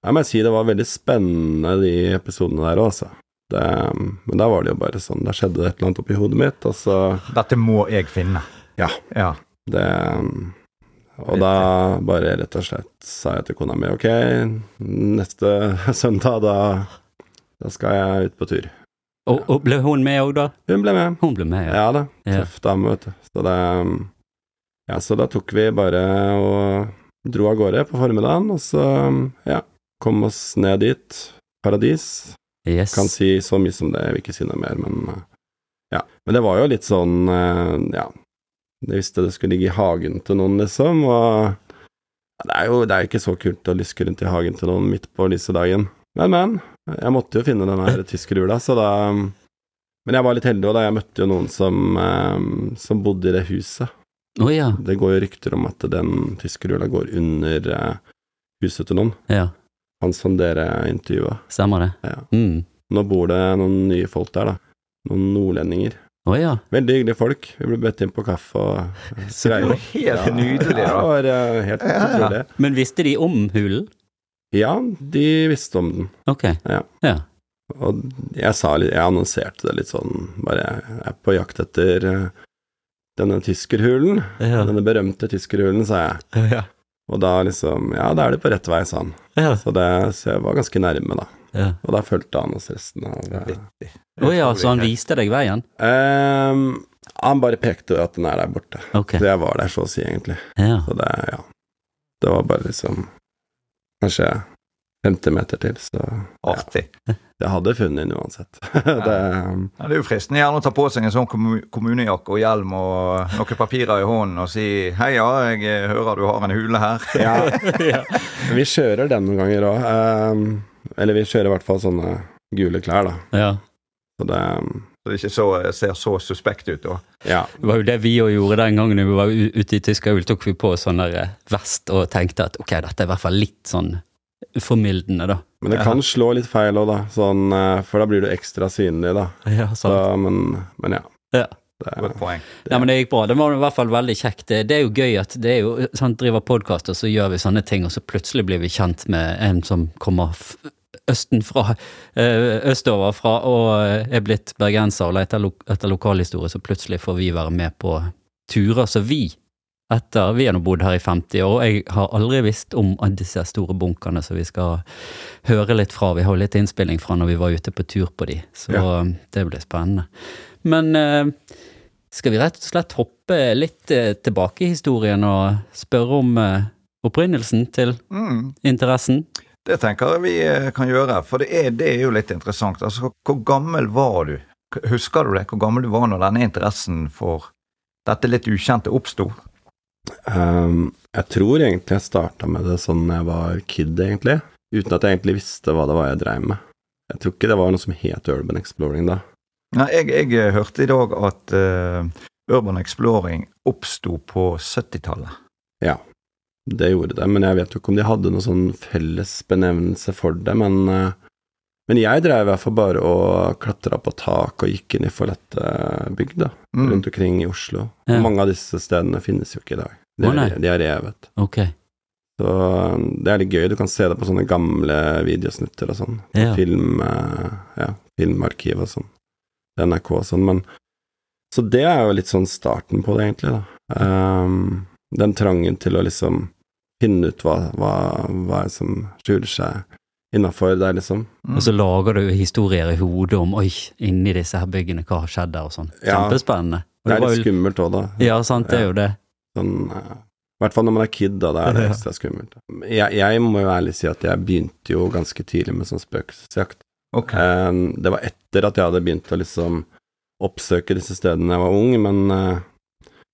Jeg må si det var veldig spennende, de episodene der òg, altså. Det, um, men da var det jo bare sånn, da skjedde det et eller annet oppi hodet mitt, og så Dette må jeg finne. Ja. Ja. det um, Og da bare rett og slett sa jeg til kona mi ok, neste søndag, da, da skal jeg ut på tur. Og, og ble hun med òg, da? Hun ble med. Hun ble med, ja. Ja da, Ja. tøff dame, vet du. Så det um, Ja, så da tok vi bare og dro av gårde på formiddagen, og så, um, ja, kom oss ned dit. Paradis. Yes. Kan si så mye som det, jeg vil ikke si noe mer, men uh, ja. Men det var jo litt sånn, uh, ja Jeg visste det skulle ligge i hagen til noen, liksom, og ja, det er jo det er jo ikke så kult å lyske rundt i hagen til noen midt på lyse dagen. Men, men. Jeg måtte jo finne den her tyskerhjula, så da um, men jeg var litt heldig, og da jeg møtte jo noen som, eh, som bodde i det huset. Å ja. Det går jo rykter om at den tyskerhjula går under eh, huset til noen. ja. Han som dere intervjua. Stemmer det. Ja. Mm. Nå bor det noen nye folk der, da. Noen nordlendinger. Å ja. Veldig hyggelige folk. Vi ble bedt inn på kaffe og eh, greier. Helt nydelig, Ja, det da. var eh, helt Ja, ja. utrolig. Men visste de om hulen? Ja, de visste om den. Ok. Og jeg sa litt, jeg annonserte det litt sånn, bare jeg er på jakt etter eh, denne tyskerhulen. Ja. Denne berømte tyskerhulen, sa jeg. Ja. Og da liksom Ja, da er du på rett vei, sa han. Ja. Så, det, så jeg var ganske nærme, da. Ja. Og da fulgte han oss resten av eh, Å ja, så han viste deg veien? ehm, Han bare pekte at den er der borte. Ok. Så jeg var der så å si, egentlig. Ja. Så det, ja. Det var bare liksom Kanskje 50 meter til, så ja, Artig. jeg hadde funnet den uansett. det, Ja, det er jo fristende gjerne å ta på seg en sånn kommu- kommunejakke og hjelm og noen papirer i hånden og si 'Hei, ja, jeg hører du har en hule her'. ja, ja. vi kjører den noen ganger òg. eller vi kjører i hvert fall sånne gule klær, da. ja. Så det um, Så det ikke så, eh, ser så suspekt ut. da. Ja. Det var jo det vi òg gjorde den gangen vi var u- ute i Tyskland. Tok vi på sånn der eh, vest og tenkte at ok, dette er i hvert fall litt sånn formildende, da. Men det kan slå litt feil òg, da. Sånn, eh, for da blir du ekstra synlig, da. Ja, Så, men, men ja. Ja. Det, Godt poeng. Nei, men det gikk bra. Det var i hvert fall veldig kjekt. Det, det er jo gøy at det er jo sant, driver podkast, og så gjør vi sånne ting, og så plutselig blir vi kjent med en som kommer f østenfra, eh, østover fra, og eh, er blitt bergenser og leter lo etter lokalhistorie, så plutselig får vi være med på turer som vi etter Vi har nå bodd her i 50 år, og jeg har aldri visst om disse store bunkene som vi skal høre litt fra. Vi har jo litt innspilling fra når vi var ute på tur på de, så det blir spennende. Men eh, skal vi rett og slett hoppe litt eh, tilbake i historien og spørre om eh, opprinnelsen til Mm. interessen? Det tenker jeg vi eh, kan gjøre, for det er, det er jo litt interessant. Altså, hvor- hvor gammel var du? K- Husker du det, hvor gammel du var når denne interessen for dette litt ukjente oppsto? Ehm, jeg tror egentlig jeg starta med det sånn jeg var kid, egentlig. Uten at jeg egentlig visste hva det var jeg dreiv med. Jeg tror ikke det var noe som het Urban Exploring da. Nei, jeg, jeg eh, hørte i dag at eh, Urban Exploring oppsto på 70-tallet. Det gjorde det, men jeg vet jo ikke om de hadde noen sånn felles benevnelse for det. Men, eh, men jeg dreiv i hvert fall bare og klatra på tak og gikk inn i forlatte bygg, da. Mm. Rundt omkring i Oslo. Ja. Mange av disse stedene finnes jo ikke i dag. De Å, nei. er, de er revet. Ok. Så um, det er litt gøy. Du kan se det på sånne gamle videosnutter og sånn. Ja. Film, eh, ja, filmarkiv og sånn. NRK og sånn. Men Så det er jo litt sånn starten på det, egentlig, da. Um, den trangen til å liksom finne ut hva, hva, hva er det som skjuler seg innafor der, liksom. Mm. Og så lager du historier i hodet om oi, inni disse her byggene, hva har skjedd der og sånn. Ja. Kjempespennende. Og Det er var litt jo- skummelt òg, da. Ja, sant, det er jo det. Sånn, eh, I hvert fall når man er kid, da. Da er det Ja. ekstra skummelt. Jeg, jeg må jo ærlig si at jeg begynte jo ganske tidlig med sånn spøkelsesjakt. Ok. Eh, Det var etter at jeg hadde begynt å liksom oppsøke disse stedene da jeg var ung, men eh,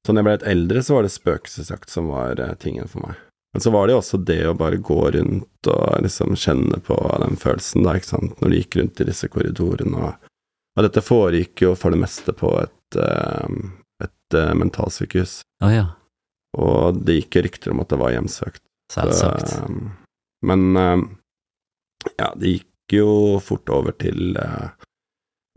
så når jeg ble litt eldre, så var det spøkelsesjakt som var eh, tingen for meg. Men så var det jo også det å bare gå rundt og liksom kjenne på den følelsen, da, ikke sant, når du gikk rundt i disse korridorene og Og dette foregikk jo for det meste på et, eh, et eh, mentalsykehus, Å ja, og det gikk jo rykter om at det var hjemsøkt. selvsagt. Så, um, Men um, ja, det gikk jo fort over til uh,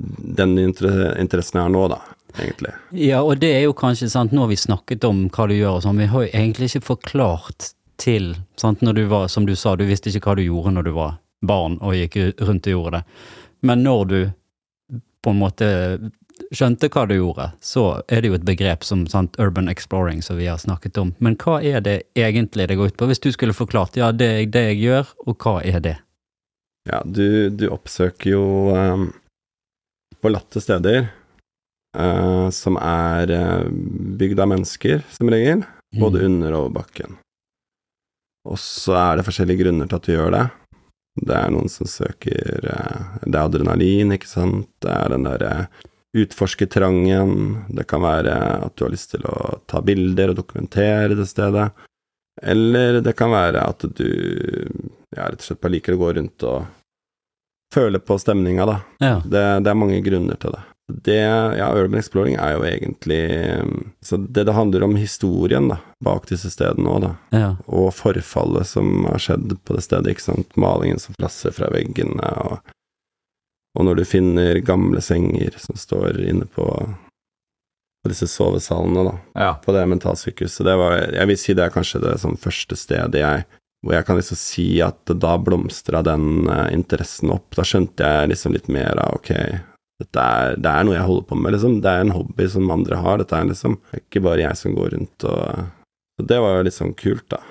den inter interessen jeg har nå, da, egentlig. Ja, og det er jo kanskje sant, nå har vi snakket om hva du gjør og sånn, vi har jo egentlig ikke forklart til, sant, når du var, som du sa, du visste ikke hva du gjorde når du var barn og gikk ru- rundt og gjorde det, men når du på en måte skjønte hva du gjorde, så er det jo et begrep som sant, urban exploring som vi har snakket om, men hva er det egentlig det går ut på? Hvis du skulle forklart, ja, det er det jeg gjør, og hva er det? Ja, du, du oppsøker jo um, forlatte steder uh, som er uh, bygd av mennesker, som regel. Både under og over bakken. Og så er det forskjellige grunner til at du gjør det. Det er noen som søker eh, Det er adrenalin, ikke sant. Det er den derre utforskertrangen. Det kan være at du har lyst til å ta bilder og dokumentere det stedet. Eller det kan være at du ja, rett og slett bare liker å gå rundt og føle på stemninga, da. Ja, Det, det er mange grunner til det. det. Ja, urban exploring er jo egentlig um, Så det det handler om historien da, bak disse stedene òg, da. Mm. ja, Og forfallet som har skjedd på det stedet, ikke sant. Malingen som flasser fra veggene, og, og når du finner gamle senger som står inne på, på disse sovesalene, da Ja. på det mentalsykehuset. Det var, jeg vil si det er kanskje det sånn første stedet jeg hvor jeg kan liksom si at da blomstra den eh, interessen opp. Da skjønte jeg liksom litt mer av ok, dette er, det er noe jeg holder på med, liksom. Det er en hobby som andre har, dette er liksom det er ikke bare jeg som går rundt og Så det var jo litt sånn kult, da.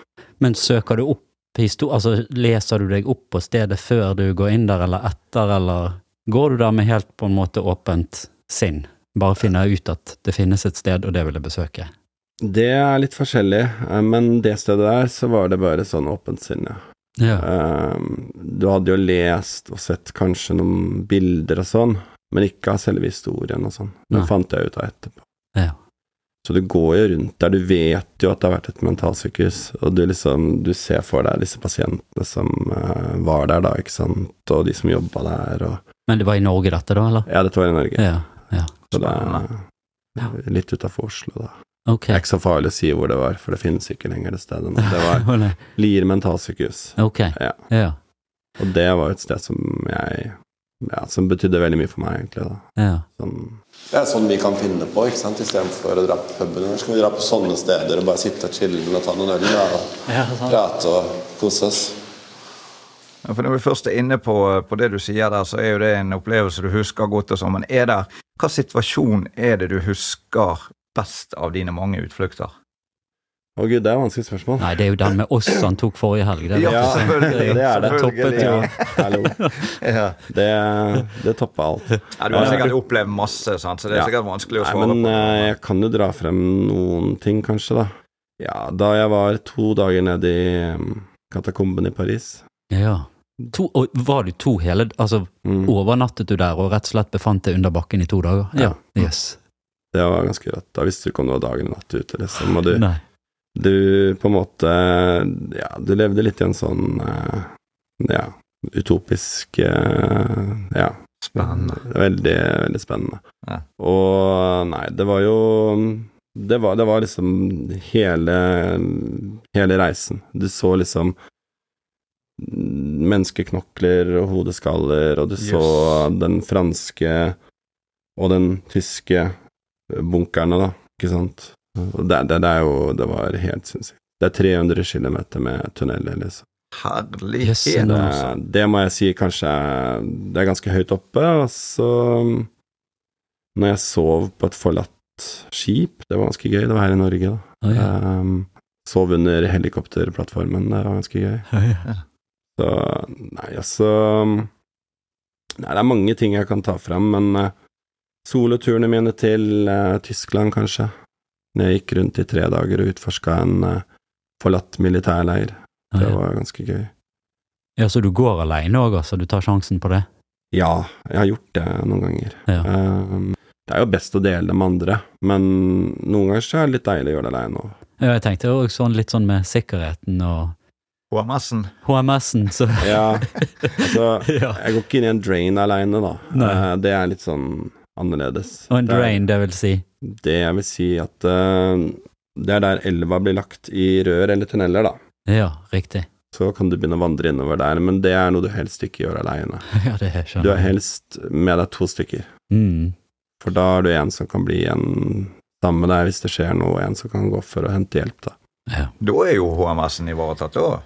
Men søker du opp histo- altså leser du deg opp på stedet før du går inn der, eller etter, eller går du der med helt på en måte åpent sinn? Bare finner ut at det finnes et sted, og det vil jeg besøke. Det er litt forskjellig, eh, men det stedet der så var det bare sånn åpent sinn, ja. Ja. Ehm, Du hadde jo lest og sett kanskje noen bilder og sånn, men ikke av selve historien og sånn. Det Nei. fant jeg ut av etterpå. Ja. Så du går jo rundt der, du vet jo at det har vært et mentalsykehus, og du liksom, du ser for deg disse pasientene som eh, var der da, ikke sant, og de som jobba der, og Men det var i Norge, dette, da? eller? ja, dette var i Norge, Ja. så det Ja. er litt utafor Oslo da. Ok. Det er ikke så farlig å si hvor det var, for det finnes ikke lenger det stedet, men det var Å, nei. Lier mentalsykehus. ok. Ja. Ja. Og det var jo et sted som jeg ja, Som betydde veldig mye for meg, egentlig. da. ja. Sånn, Det er sånn vi kan finne på, ikke sant? istedenfor å dra på puben. Her skal vi dra på sånne steder og bare sitte og chille og ta noen øl da, og prate og kose oss. Ja, For når vi først er inne på, eh, på det du sier der, så er jo det en opplevelse du husker godt og sånn, men er det, hva situasjon er det du husker best av dine mange utflukter? å gud, det er et vanskelig spørsmål. Nei, det er jo den med oss han tok forrige helg. Det er Ja, det som- selvfølgelig, det er det. Toppet jo. selvfølgelig, Hallo. Ja. Det, det toppa alt. Ja, du har sikkert opplevd masse, sant? så det er Ja. sikkert vanskelig å Nei, svare men på. eh, jeg kan jo dra frem noen ting, kanskje, da. Ja, da jeg var to dager nede i eh, katakomben i Paris Ja. To, og var du to hele Altså, mm, overnattet du der og rett og slett befant deg under bakken i to dager? Ja. Yes. Det var ganske rått. Da visste du ikke om det var dagen eller natt ute, liksom. Og du, Nei. du på en måte Ja, du levde litt i en sånn eh, Ja, utopisk eh, Ja. Spennende. Veldig, veldig spennende. Ja. Og nei, det var jo det var, det var liksom hele, hele reisen. Du så liksom menneskeknokler og hodeskaller, og du så Yes. den franske og den tyske bunkerne, da, ikke sant. Og det, det, det er jo Det var helt sinnssykt. Det er 300 km med tunneler, liksom. Yes, Herlighet. nå. Eh, Det må jeg si kanskje Det er ganske høyt oppe. Og så mm, Når jeg sov på et forlatt skip Det var ganske gøy. Det var her i Norge, da. Å, ja. Ehm, sov under helikopterplattformen. Det var ganske gøy. Så Nei, altså Nei, det er mange ting jeg kan ta fram, men eh, soloturene mine til eh, Tyskland, kanskje. Når jeg gikk rundt i tre dager og utforska en eh, forlatt militærleir. Å, Det ja. var ganske gøy. ja, så du går alene òg, altså? Du tar sjansen på det? Ja, jeg har gjort det noen ganger. Ja. Ehm, det er jo best å dele det med andre, men noen ganger så er det litt deilig å gjøre det alene òg. Ja, jeg tenkte òg sånn litt sånn med sikkerheten og HMS-en. HMS-en, så Ja, altså, Ja. jeg går ikke inn i en drain aleine, da. Nei. Eh, det er litt sånn annerledes. Og en Det er- drain, det vil si. Det jeg vil si at eh, det er der elva blir lagt i rør eller tunneler, da. Ja, riktig. Så kan du begynne å vandre innover der, men det er noe du helst ikke gjør aleine. Ja, det skjønner Du er jeg. helst med deg to stykker, Mm. for da er du en som kan bli en sammen med deg hvis det skjer noe, og en som kan gå for å hente hjelp, da. Da er jo HMS-en ivaretatt, da.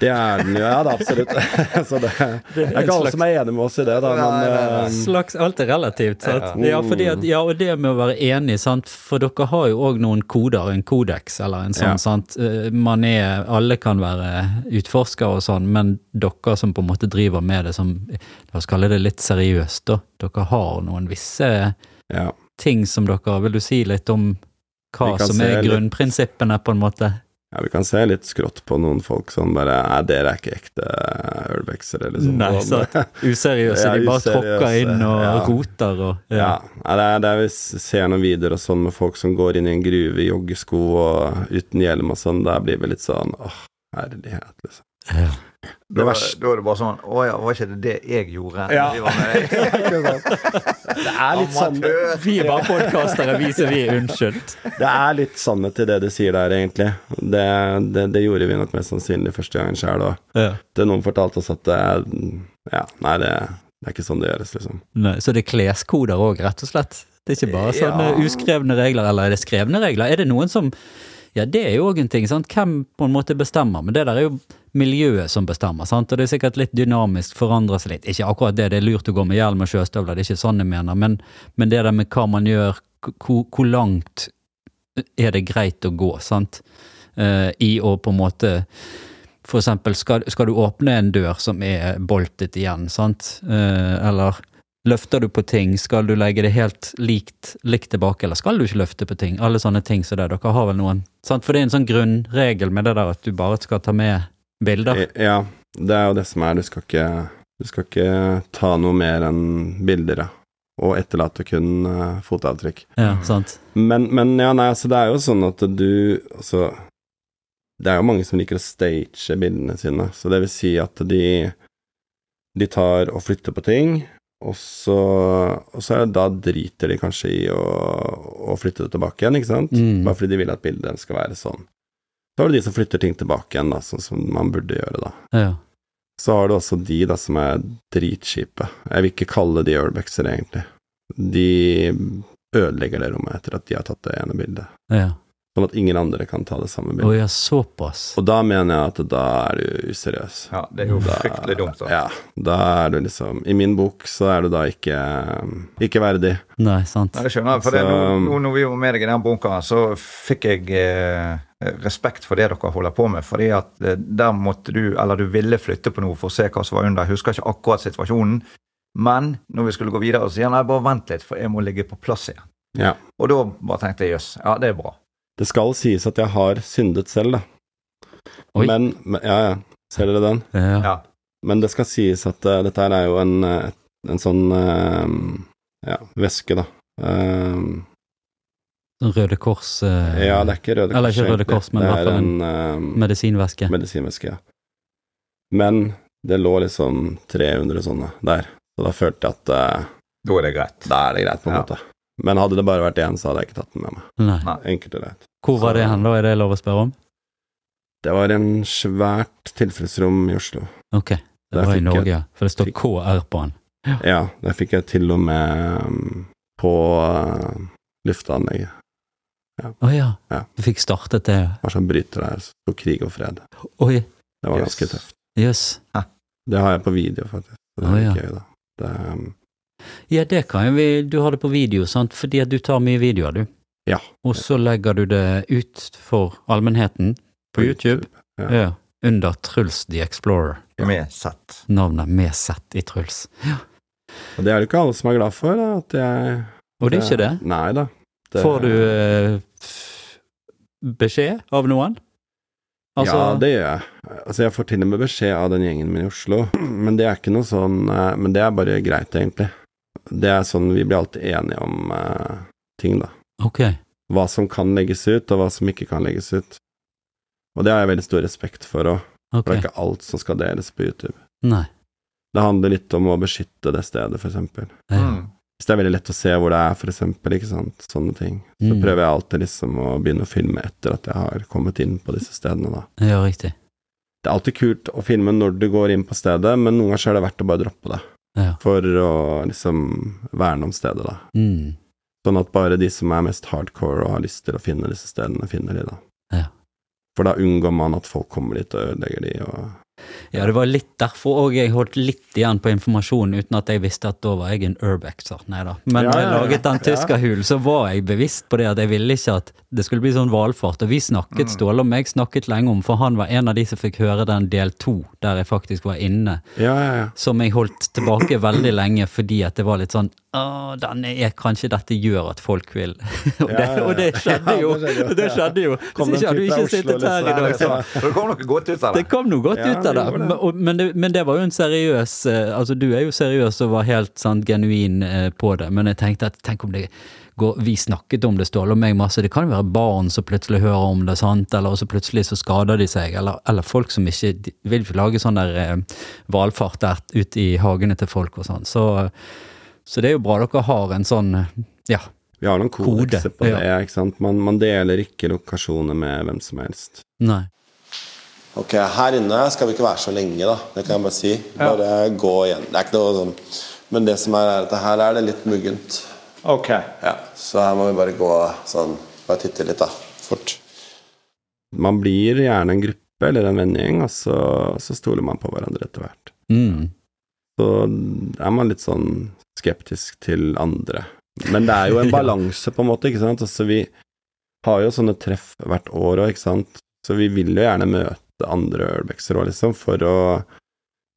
Det er den jo, ja da, absolutt. Så det, det er ikke alle som er enig med oss i det, da, men Nei, nei, eh, Slags, alt er relativt. Sant? Ja. Ja, fordi at, ja, og det med å være enig, sant? for dere har jo òg noen koder, en kodeks eller en sånn, Ja. sant. Eh, Man er, alle kan være utforskere og sånn, men dere som på en måte driver med det som, la oss kalle det litt seriøst, da. Dere har noen visse ja. ting som dere Vil du si litt om hva Vi kan som se er litt- grunnprinsippene, på en måte? ja, vi kan se litt skrått på noen folk sånn bare Nei, dere er ikke ekte ølveksere, liksom. Nei, Sånn. Useriøse, Ja, de bare useriøse, tråkker inn og ja. roter og Ja. Nei, det er, det er vi s- ser noen videoer og sånn med folk som går inn i en gruve i joggesko og uten hjelm og sånn, der blir vi litt sånn åh, herlighet, liksom. Ja. Da, da verste- er det bare sånn Å ja, var ikke det det jeg gjorde? Ja. Vi var med deg. Det er litt sånn Amatør. Vi er bare podkastere, vi som vi er unnskyldt. Det er litt sannhet i det du sier der, egentlig. Det, det, det gjorde vi nok mest sannsynlig første gangen sjøl òg. Ja. Det noen fortalte oss at det er Ja, nei, det, det er ikke sånn det gjøres, liksom. Nei, så det er kleskoder òg, rett og slett? Det er ikke bare Ja. sånne uskrevne regler, eller er det skrevne regler? Er det noen som Ja, det er jo òg en ting, sant. Hvem på en måte bestemmer? Men det der er jo miljøet som bestemmer, sant. Og det er sikkert litt dynamisk, forandrer seg litt. Ikke akkurat det, det er lurt å gå med hjelm og sjøstøvler, det er ikke sånn jeg mener, men, men det der med hva man gjør, hvor, hvor langt er det greit å gå, sant? Eh, I å på en måte for eksempel, skal, skal du åpne en dør som er boltet igjen, sant? Eh, eller løfter du på ting, skal du legge det helt likt, likt tilbake, eller skal du ikke løfte på ting? Alle sånne ting som det. Dere har vel noen sant? For det er en sånn grunnregel med det der at du bare skal ta med bilder. Eh, Ja, Det er jo det som er, du skal ikke, du skal ikke ta noe mer enn bilder, ja. Og etterlate kun eh, fotavtrykk. Ja, sant. Men, men ja, nei, altså, det er jo sånn at du Altså, det er jo mange som liker å stage bildene sine, så det vil si at de De tar og flytter på ting, og så, og så er det da driter de kanskje i å, å flytte det tilbake igjen, ikke sant? Mm. Bare fordi de vil at bildet skal være sånn. Så har du de som flytter ting tilbake igjen, da, sånn som man burde gjøre, da. Ja. Så har du også de da som er dritkjipe. Jeg vil ikke kalle de urbexere, egentlig. De ødelegger det rommet etter at de har tatt det ene bildet, ja. sånn at ingen andre kan ta det Å samme bildet. ja, såpass. Og da mener jeg at da er du useriøs. Ja, det er jo Da- fryktelig dumt. Da. Ja, da er du liksom I min bok så er du da ikke ikke verdig. Nei, sant. Nei, det skjønner jeg. For det, Så- nå, nå når vi var med deg i den bunkeren, så fikk jeg eh, respekt for det dere holder på med. fordi at eh, der måtte du, eller du ville flytte på noe for å se hva som var under. Jeg husker ikke akkurat situasjonen. Men når vi skulle gå videre, så sier han nei, bare vent litt, for jeg må ligge på plass igjen. Ja. Og da bare tenkte jeg jøss, ja, det er bra. Det skal sies at jeg har syndet selv, da. Oi. Men, men Ja, ja. Ser dere den? Ja. Ja. Men det skal sies at eh, dette her er jo en, eh, en sånn eh, ja, væske, da. Eh, Sånn Røde Kors eh, ja, det er ikke Røde Kors. Eller ikke Røde egentlig. Kors, men det i hvert er fall en en eh, medisinvæske. medisinvæske. Ja. Men det lå liksom 300 sånne der, så da følte jeg at eh, Da er det greit. da er det greit, på en Ja. måte. Men hadde det bare vært én, så hadde jeg ikke tatt den med meg. Nei. Nei. Enkelt og greit. Hvor var det hen, da? Er det lov å spørre om? Det var en svært tilfløyelsesrom i Oslo. Ok. Det Der var i fikk jeg- Norge, for det står KR på den. Ja, der fikk jeg til og med mm, på eh, lufteanlegget. Å ja. Ja. Du fikk startet det? Det var sånn bryter der, så sto krig og fred. Oi, Det var Yes. ganske tøft. jøss. Det har jeg på video, faktisk. Så Det er Å, Ah, litt ja. gøy, da. Det, um, Ja, det kan jo vi Du har det på video, sant? Fordi at du tar mye videoer, du. Ja. Og så legger du det ut for allmennheten på YouTube. Ja. Ja. Under Truls the Explorer. Med sett. Navnet med sett i Truls. Og det er det ikke alle som er glad for, da, at jeg Og det er ikke det. Nei da. Det- Får du eh, f- beskjed av noen? altså- Ja, det gjør jeg. Altså, jeg får til og med beskjed av den gjengen min i Oslo, men det er ikke noe sånn eh, Men det er bare greit, egentlig. Det er sånn vi blir alltid enige om eh, ting, da. Ok. Hva som kan legges ut, og hva som ikke kan legges ut. Og det har jeg veldig stor respekt for òg, for ok. det er ikke alt som skal deles på YouTube. Nei. Det handler litt om å beskytte det stedet, for eksempel. Ja. Mm. Hvis det er veldig lett å se hvor det er, for eksempel, ikke sant, sånne ting, så Mm. prøver jeg alltid liksom å begynne å filme etter at jeg har kommet inn på disse stedene, da. Ja, riktig. Det er alltid kult å filme når du går inn på stedet, men noen ganger så er det verdt å bare droppe det, Ja. for å liksom verne om stedet, da. Mm. Sånn at bare de som er mest hardcore og har lyst til å finne disse stedene, finner de, da. Ja. For da unngår man at folk kommer dit og ødelegger de, og Ja, det var litt derfor òg jeg holdt litt igjen på informasjon, uten at jeg visste at da var jeg en urbexer. Nei da. Men Ja, når jeg ja, ja. laget den tyskerhulen, så var jeg bevisst på det at jeg ville ikke at det skulle bli sånn valfart. Og vi Mm. snakket, Ståle og meg snakket lenge om, for han var en av de som fikk høre den del to, der jeg faktisk var inne. Ja, ja, ja. som jeg holdt tilbake veldig lenge fordi at det var litt sånn Å, denne er kanskje dette gjør at folk vil og, det, Ja, ja, ja. og det skjedde jo! Ja, det skjedde jo. det skjedde jo. Kom Hvis den ikke hadde ut vi av ikke Oslo, sittet her i liksom. dag. Nei, det, det kom noe godt ut av Det det. kom noe godt Ja, ut av det det, gjorde det. men, og- men, det, men det var jo en seriøs eh, Altså, du er jo seriøs og var helt sånn genuin eh, på det, men jeg tenkte at tenk om det går Vi snakket om det, Ståle og meg, masse. Det kan jo være barn som plutselig hører om det, sant, eller så plutselig så skader de seg, eller, eller folk som ikke de vil ikke lage sånn der eh, valfart der ute i hagene til folk og sånn. Så, så det er jo bra dere har en sånn eh, Ja. Vi har noen Kode, kodekser på det, ja. ikke sant. Man, man deler ikke lokasjoner med hvem som helst. Nei. Ok, her inne skal vi ikke være så lenge, da. Det kan jeg bare si. Bare gå igjen. Det er ikke noe sånn Men det som er, er at her er det litt muggent. Ok. Ja, så her må vi bare gå sånn Bare titte litt, da. Fort. man blir gjerne en gruppe eller en vennegjeng, og så, så stoler man på hverandre etter hvert. Mm. Så er man litt sånn skeptisk til andre. Men det er jo en Ja. balanse, på en måte, ikke sant. Altså, vi har jo sånne treff hvert år òg, ikke sant. Så vi vil jo gjerne møte andre Urbexer òg, liksom, for å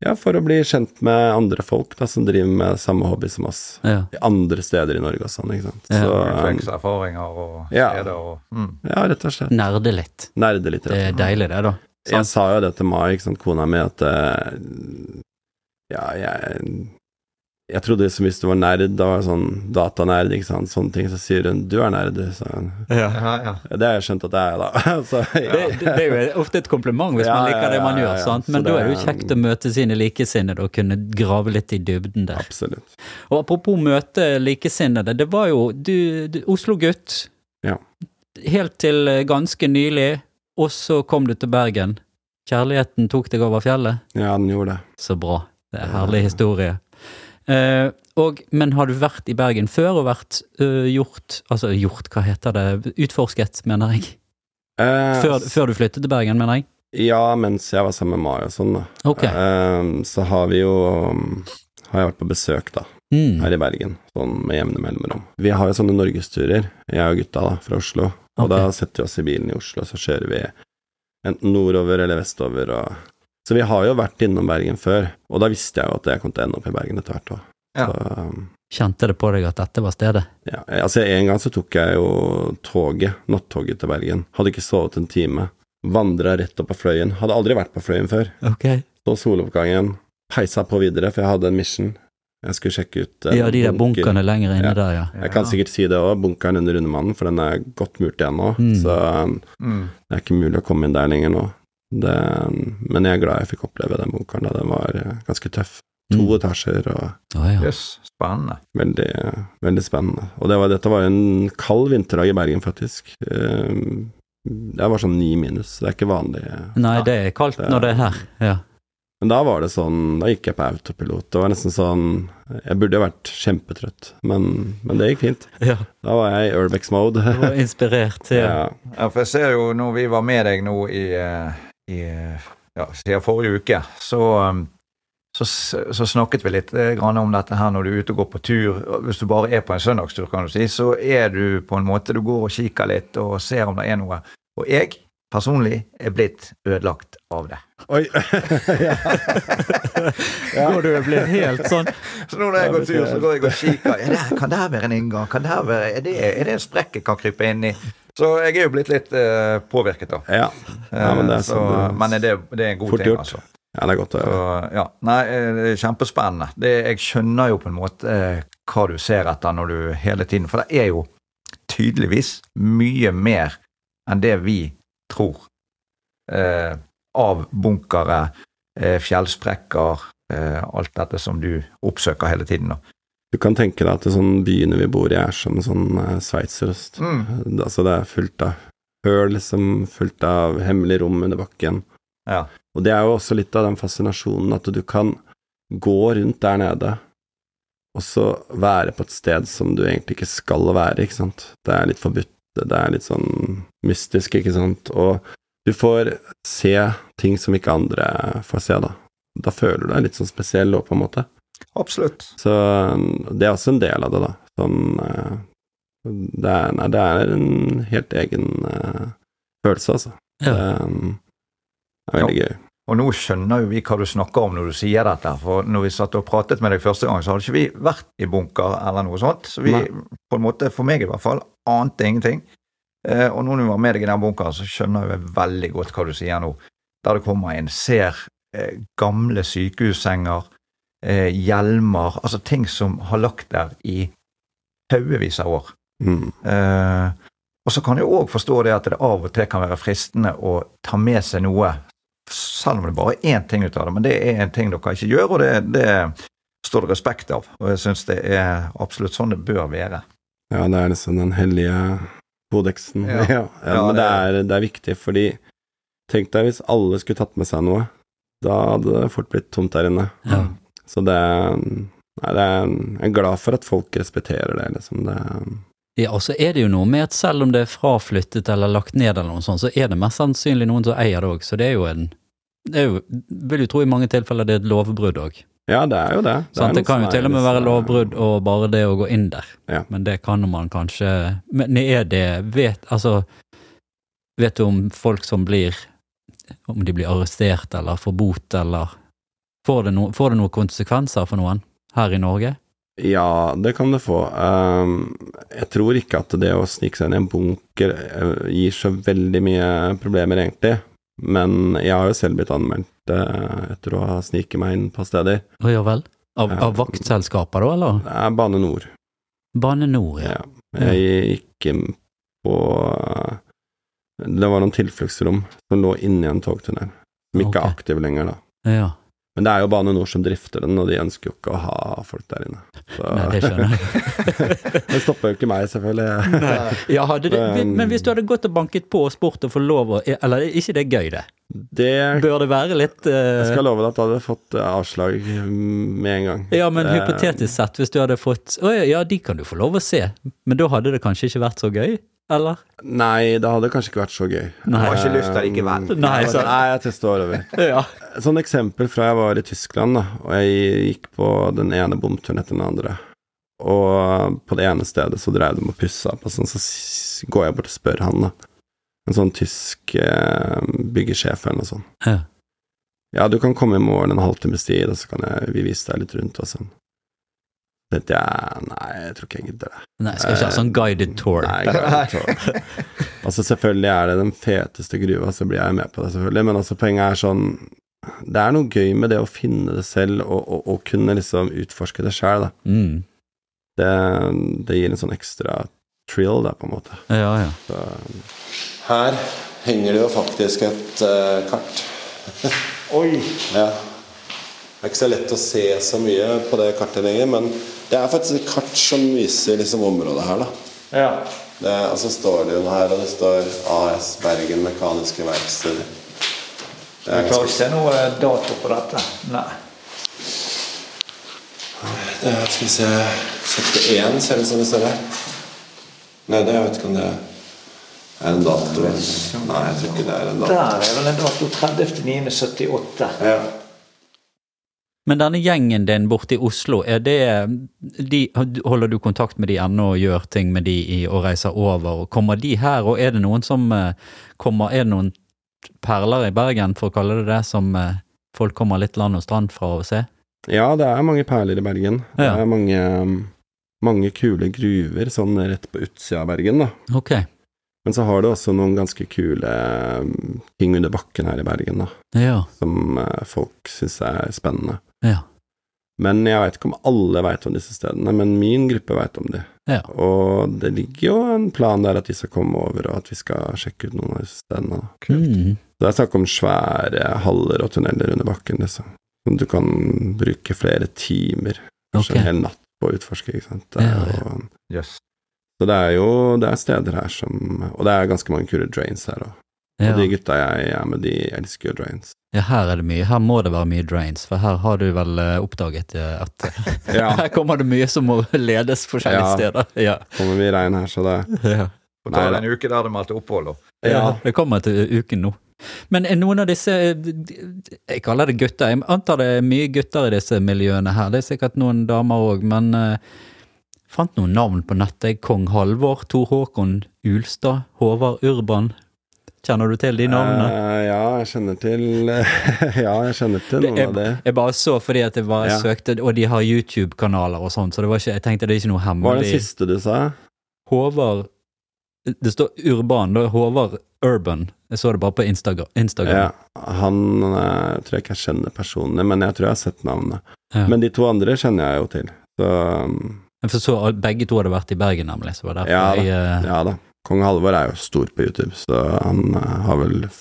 ja, for å bli kjent med andre folk da, som driver med samme hobby som oss. Ja. I Andre steder i Norge og sånn, ikke sant. Ja. Så Fikse erfaringer og Ja. steder og mm. ja, rett og slett. Nerde litt. Nerde litt, Det rett og slett. er deilig, det, da. Jeg sa jo det til Mai, ikke sant, kona mi, at eh, Ja, jeg Jeg trodde liksom hvis du var nerd, da var jeg sånn datanerd, ikke sant, sånne ting, så sier hun 'du er nerd', sa hun. Ja. Ja, ja. Ja, Det har jeg skjønt at jeg er, da. så, ja. Det, det, det er jo ofte et kompliment hvis Ja, man liker ja, det man ja, gjør, ja, ja. sant? Så men det da er det jo er- kjekt å møte sine likesinnede og kunne grave litt i dybden der. Absolutt. Og apropos møte likesinnede, det var jo du, du Oslo-gutt Ja. helt til eh, ganske nylig, og så kom du til Bergen. Kjærligheten tok deg over fjellet. Ja, den gjorde det. Så bra. Det er en herlig historie. Eh, og, men har du vært i Bergen før og vært eh, gjort Altså gjort, hva heter det? Utforsket, mener jeg. Eh, Før, før du flyttet til Bergen, mener jeg. Ja, mens jeg var sammen med Mai og sånn, da. Ok. Eh, så har vi jo um, Har jeg vært på besøk, da, Mm. her i Bergen, sånn med jevne mellomrom. Vi har jo sånne norgesturer, jeg og gutta da, fra Oslo. Og Ok. da setter vi oss i bilen i Oslo, så kjører vi enten nordover eller vestover og Så vi har jo vært innom Bergen før, og da visste jeg jo at jeg kom til å ende opp i Bergen etter hvert òg. Ja. Så um, Kjente det på deg at dette var stedet? Ja, altså En gang så tok jeg jo toget, nattoget til Bergen. Hadde ikke sovet en time. Vandra rett opp på Fløyen. Hadde aldri vært på Fløyen før. Ok. Så soloppgangen. Peisa på videre, for jeg hadde en mission. Jeg skulle sjekke ut eh, Ja, de der bunker. bunkene lenger inne Ja. der, ja. Jeg kan sikkert si det òg, bunkeren under Rundemannen, for den er godt murt igjen nå. Mm. Så um, Mm. det er ikke mulig å komme inn der lenger nå. Det, um, men jeg er glad jeg fikk oppleve den bunkeren. Da. Den var eh, ganske tøff. To Mm. etasjer og Å, ja. Jøss, spennende. Veldig, veldig spennende. Og det var, dette var en kald vinterdag i Bergen, faktisk. Eh, Det var sånn ni minus, så det er ikke vanlig. Nei, det er kaldt Det er- når det er her. Ja. Men da var det sånn, da gikk jeg på autopilot. Det var nesten sånn Jeg burde jo vært kjempetrøtt, men, men det gikk fint. ja. Da var jeg i Urbex-mode. Du var inspirert til Ja. Ja, for jeg ser jo når vi var med deg nå i, eh, i eh, ja, siden forrige uke, så, eh, så, s- så snakket vi litt eh, grann om dette her når du er ute og går på tur. Hvis du bare er på en søndagstur, kan du si, så er du på en måte Du går og kikker litt og ser om det er noe. Og jeg personlig er blitt ødelagt av det. Oi. ja. Går du og blir helt sånn Så nå når jeg Ja, går det tur, ser så jeg. går jeg og kikker. Er det, kan det være en inngang? Kan det være, er, det, er det en sprekk jeg kan krype inn i? Så jeg er jo blitt litt eh, påvirket, da. ja. Ja, men det er Eh, så, sånn- men det, det er en god Fort ting, gjort. altså. Ja, det er godt å Så, høre. ja. Nei, eh, det er kjempespennende. Det, jeg skjønner jo på en måte eh, hva du ser etter når du hele tiden For det er jo tydeligvis mye mer enn det vi tror eh, av bunkere, eh, fjellsprekker, eh, alt dette som du oppsøker hele tiden. da. Du kan tenke deg at det sånn byene vi bor i, er som sånn eh, sveitserost. Mm. Altså, det er fullt av høl, liksom. Fullt av hemmelige rom under bakken. Ja. Og det er jo også litt av den fascinasjonen at du kan gå rundt der nede, og så være på et sted som du egentlig ikke skal være, ikke sant. Det er litt forbudt, det er litt sånn mystisk, ikke sant. Og du får se ting som ikke andre får se, da. Da føler du deg litt sånn spesiell òg, på en måte. Absolutt. Så mm, det er også en del av det, da. Sånn eh, Det er, nei, det er en helt egen eh, følelse, altså. Ja. Det er, mm, det er veldig gøy. Og nå skjønner jo vi hva du snakker om når du sier dette. For når vi satt og pratet med deg første gang, så hadde ikke vi vært i bunker eller noe sånt. Så vi, Nei. på en måte, for meg i hvert fall, ante ingenting. Eh, og nå når vi var med deg i den bunkeren, så skjønner jeg veldig godt hva du sier nå. Der det kommer inn, ser eh, gamle sykehussenger, eh, hjelmer, altså ting som har lagt der i haugevis av år. Mm. Eh, og så kan jeg òg forstå det at det av og til kan være fristende å ta med seg noe, selv om det bare er én ting ut av det. Men det er en ting dere ikke gjør, og det, det står det respekt av. Og jeg syns det er absolutt sånn det bør være. Ja, det er liksom den hellige kodeksen. Ja. Ja, ja, Ja, men det det er- er, det er viktig, fordi tenk deg hvis alle skulle tatt med seg noe. Da hadde det fort blitt tomt der inne. Ja. Så det er Nei, det er, jeg er glad for at folk respekterer det, liksom. Det er, Ja, og så er det jo noe med at selv om det er fraflyttet eller lagt ned eller noe sånt, så er det mest sannsynlig noen som eier det òg, så det er jo en det er jo, vil jo tro i mange tilfeller det er et lovbrudd òg. ja, det er jo det. Det, er det noen kan som jo er til og med være liksom- lovbrudd og bare det å gå inn der, Ja. men det kan man kanskje Men er det vet, altså, vet du om folk som blir Om de blir arrestert eller får bot eller Får det, no, får det noen konsekvenser for noen her i Norge? Ja, det kan det få. Ehm, jeg tror ikke at det å snike seg inn i en bunker eh, gir så veldig mye problemer, egentlig. Men jeg har jo selv blitt anmeldt eh, etter å ha sniket meg inn på steder. Å ja vel? Av, Ja. av vaktselskaper, da, eller? Det er Bane Nor. Bane Nor, ja. Ja. Jeg gikk inn på eh, Det var noen tilfluktsrom som lå inni en togtunnel, som ikke er Ok. aktiv lenger, da. ja. Men det er jo Bane Nor som drifter den, og de ønsker jo ikke å ha folk der inne. Så Nei, det skjønner jeg. det stopper jo ikke meg, selvfølgelig. Ja, hadde det, Men- men hvis du hadde gått og banket på og spurt og fått lov å Eller er ikke det gøy, det? Det Bør det være litt eh, jeg skal love deg at jeg hadde fått eh, avslag mm, med en gang. Ja, men Eh, hypotetisk sett, hvis du hadde fått Å ja, ja, de kan du få lov å se, men da hadde det kanskje ikke vært så gøy? Eller? Nei, det hadde kanskje ikke vært så gøy. Nei. Har ikke lyst allikevel. Nei, Så, så, nei, jeg tror jeg står over. ja. Sånn eksempel fra jeg var i Tyskland, da, og jeg gikk på den ene bomturen etter den andre. Og eh, på det ene stedet så dreiv de og pussa opp, og sånn, så s- går jeg bort og spør han, da. En sånn tysk eh, byggesjef eller noe sånt. Ja. Ja, du kan komme i morgen en halvtimes tid, og så kan jeg, vi vise deg litt rundt og sånn. Så tenkte jeg nei, jeg tror ikke jeg gidder det. Nei, skal ikke ha sånn guided tour. Nei, guided tour. altså, selvfølgelig er det den feteste gruva, så blir jeg med på det, selvfølgelig. Men altså, poenget er sånn Det er noe gøy med det å finne det selv, og, og, og kunne liksom utforske det sjæl, da. Mm. Det, det gir en sånn ekstra trill, da, på en måte. Ja, ja. Så, Her henger det jo faktisk et eh, kart. Oi! Ja. Det er ikke så lett å se så mye på det kartet lenger, men det er faktisk et kart som viser liksom området her, da. Ja. Det, og så står det jo her, og det står AS Bergen Mekaniske Verksted. Det er Jeg klarer ganske ikke se noe eh, dato på dette. Nei. Det er, skal vi se 71 ser det ut som det står her. Nei, det jeg vet ikke om det er en dato. Nei, jeg tror ikke det er en dato. Der er vel en dato 30.9.78. Ja. Men denne gjengen din borte i Oslo, er det de, Holder du kontakt med de ennå og gjør ting med de i, og reiser over? Og kommer de her, og er det noen som eh, kommer Er det noen perler i Bergen, for å kalle det det, som eh, folk kommer litt land og strand fra å se? ja, det er mange perler i Bergen. Ja. Det er mange, um, mange kule gruver sånn rett på utsida av Bergen, da. Ok. Men så har du også noen ganske kule mm, ting under bakken her i Bergen, da. Ja. som eh, folk syns er spennende. Ja. Men jeg veit ikke om alle veit om disse stedene, men min gruppe veit om de. Ja. Og det ligger jo en plan der at de skal komme over, og at vi skal sjekke ut noen av disse stedene. da. Mm. Så det er snakk om svære haller og tunneler under bakken, liksom. Som du kan bruke flere timer, Ok. kanskje en hel natt, på å utforske, ikke sant. Det er Ja, jo, Så det er jo det er steder her som Og det er ganske mange kule drains her òg. Ja. Og de gutta jeg er med, de elsker jo drains. ja, her er det mye. Her må det være mye drains, for her har du vel eh, oppdaget eh, at Ja. her kommer det mye som må ledes forskjellige Ja. steder. Ja. Kommer vi i regn her, så det ja. Og Nei tar da. en uke der de har hatt opphold. og- Ja. Det kommer til uken nå. Men er noen av disse eh, Jeg kaller det gutter. Jeg antar det er mye gutter i disse miljøene her. Det er sikkert noen damer òg, men eh, fant noen navn på nettet. Kong Halvor, Tor Håkon Ulstad, Håvard Urban. Kjenner du til de navnene? Eh, ja, jeg kjenner til Ja, jeg kjenner til noen av de. jeg, jeg bare så fordi at jeg bare Ja. søkte, og de har YouTube-kanaler og sånn, så det var ikke, jeg tenkte det er ikke noe Hva er den hemmelig. siste du sa? Håvard Det står Urban, da. er Håvard Urban. Jeg så det bare på Instagram. Instagram. Ja, han eh, tror jeg ikke jeg kjenner personlig, men jeg tror jeg har sett navnet. Ja. Men de to andre kjenner jeg jo til. Så um, Jeg forstår at begge to hadde vært i Bergen, nemlig. Så det var derfor Ja da. jeg eh, ja da. Kong Halvor er jo stor på YouTube, så han eh, har vel f-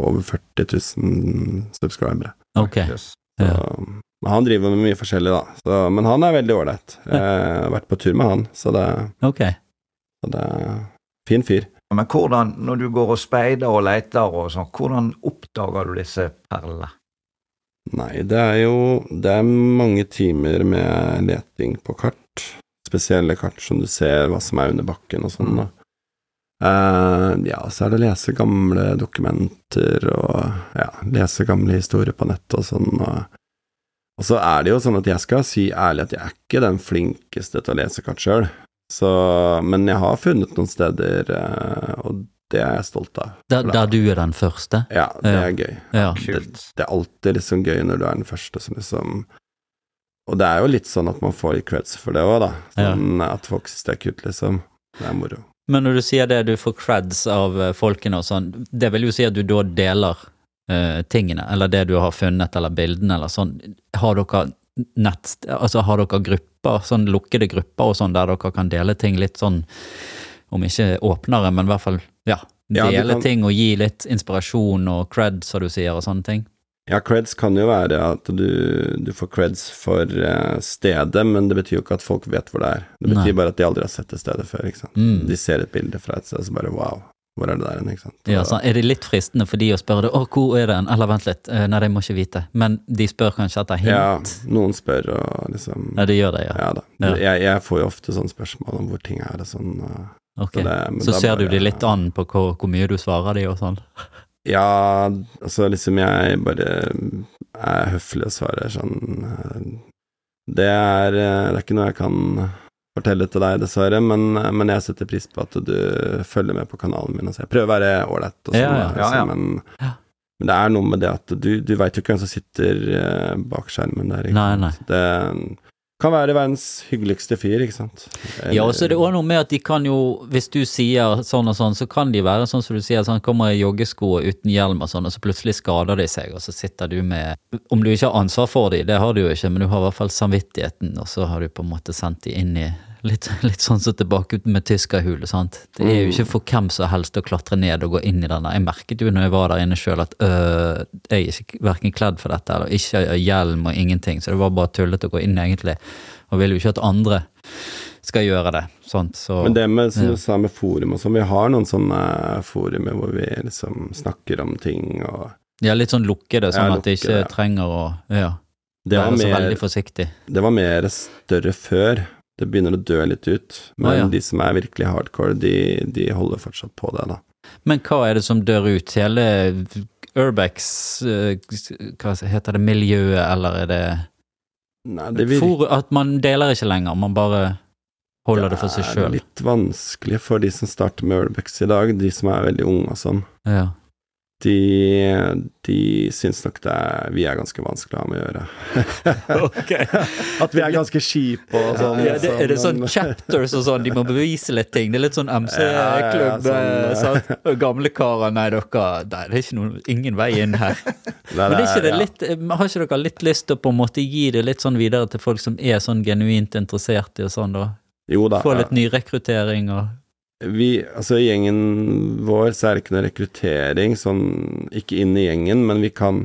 over 40 000 subscribere. Ok. Yes. Så, Ja. men han driver med mye forskjellig, da. Så, men han er veldig ålreit. Eh, Jeg har vært på tur med han, så det, ok. så det er Fin fyr. Men hvordan, når du går og speider og leter og sånn, hvordan oppdager du disse perlene? Nei, det er jo Det er mange timer med leting på kart. Spesielle kart som du ser hva som er under bakken og sånn, da. Eh, ja, så er det å lese gamle dokumenter og ja, lese gamle historier på nettet og sånn. Og, og så er det jo sånn at jeg skal si ærlig at jeg er ikke den flinkeste til å lese kart sjøl. Men jeg har funnet noen steder, eh, og det er jeg stolt av. Der, der du er den første? Ja, det Ja. er gøy Ja. Kult. det er alltid liksom gøy når du er den første som liksom Og det er jo litt sånn at man får litt creds for det òg, da. Sånn At folk syns det er kult, liksom. Det er moro. Men når du sier det, du får creds av eh, folkene og sånn, det vil jo si at du da deler eh, tingene, eller det du har funnet, eller bildene, eller sånn. Har dere nett, altså har dere grupper, sånn lukkede grupper og sånn, der dere kan dele ting litt sånn, om ikke åpnere, men i hvert fall, ja, Ja, dele du kan- ting og gi litt inspirasjon og cred, som du sier, og sånne ting? Ja, creds kan jo være at du, du får creds for eh, stedet, men det betyr jo ikke at folk vet hvor det er. Det betyr Nei. bare at de aldri har sett det stedet før, ikke sant. Mm. De ser et bilde fra et sted, så bare wow, hvor er det der hen, ikke sant. Ja, Og- sånn. Er det litt fristende for de å spørre det, å, hvor er den? Eller vent litt, eh, nei, det må ikke vite. Men de spør kanskje etter hint? ja, noen spør og liksom Ja, de gjør det, ja. Ja da. Ja. Jeg, jeg får jo ofte sånne spørsmål om hvor ting er og sånn. og- Ok. Så det- men Så da ser du bare- de litt an på hvor, hvor mye du svarer de og sånn? Ja, altså liksom jeg bare er høflig og svarer sånn eh, Det er, eh, det er ikke noe jeg kan fortelle til deg, dessverre, men, eh, men jeg setter pris på at du følger med på kanalen min. Altså, jeg prøver å være ålreit, og sånn, Ja, ja. altså, Ja, ja. men, Ja. men det er noe med det at du, du veit jo ikke hvem som sitter eh, bak skjermen der. Ikke? Nei, nei. sant? Det kan være verdens hyggeligste fyr, ikke sant. Ja, og så eh, er det òg noe med at de kan jo, hvis du sier sånn og sånn, så kan de være sånn som du sier, sånn kommer i joggesko og uten hjelm og sånn, og så plutselig skader de seg, og så sitter du med Om du ikke har ansvar for de, det har du jo ikke, men du har i hvert fall samvittigheten, og så har du på en måte sendt de inn i Litt, litt sånn som tilbake ut med tyskerhule, sant. Det er jo ikke Mm. for hvem som helst å klatre ned og gå inn i denne. Jeg merket jo når jeg var der inne sjøl at øh, jeg er ikke verken kledd for dette eller ikke har hjelm og ingenting, så det var bare tullete å gå inn egentlig. Og vil jo ikke at andre skal gjøre det. Sånt, så Men det med, som Ja. du sa, med forum og sånn, vi har noen sånne forumer hvor vi liksom snakker om ting og ja, litt sånn lukkede, sånn Ja, at de ikke lukkede, ja. trenger å ja, Det var, være så mer, veldig forsiktig. det var mer større før. Det begynner å dø litt ut. Men Å, ja. de som er virkelig hardcore, de, de holder fortsatt på det, da. Men hva er det som dør ut? Hele Urbex eh, Hva heter det, miljøet, eller er det, Nei, det virker For, At man deler ikke lenger, man bare holder det for seg Det er sjøl. litt vanskelig for de som starter med Urbex i dag, de som er veldig unge og sånn. Ja. De, de syns nok det er Vi er ganske vanskelig å ha med å gjøre. At vi er ganske kjipe og sånn. Ja, det, er det sånn men- chapters og sånn, de må bevise litt ting? Det er litt sånn MC-klubb. Ja, ja, sånn, eh, sant? Og Gamle karer, nei, dere Nei, det er ikke noen, ingen vei inn her. Men er ikke det ja. litt, eh, har ikke dere litt lyst til å på en måte gi det litt sånn videre til folk som er sånn genuint interessert i og sånn, da? Jo da. Få litt nyrekruttering og Vi, altså I gjengen vår så er det ikke noe rekruttering, sånn ikke inn i gjengen, men vi kan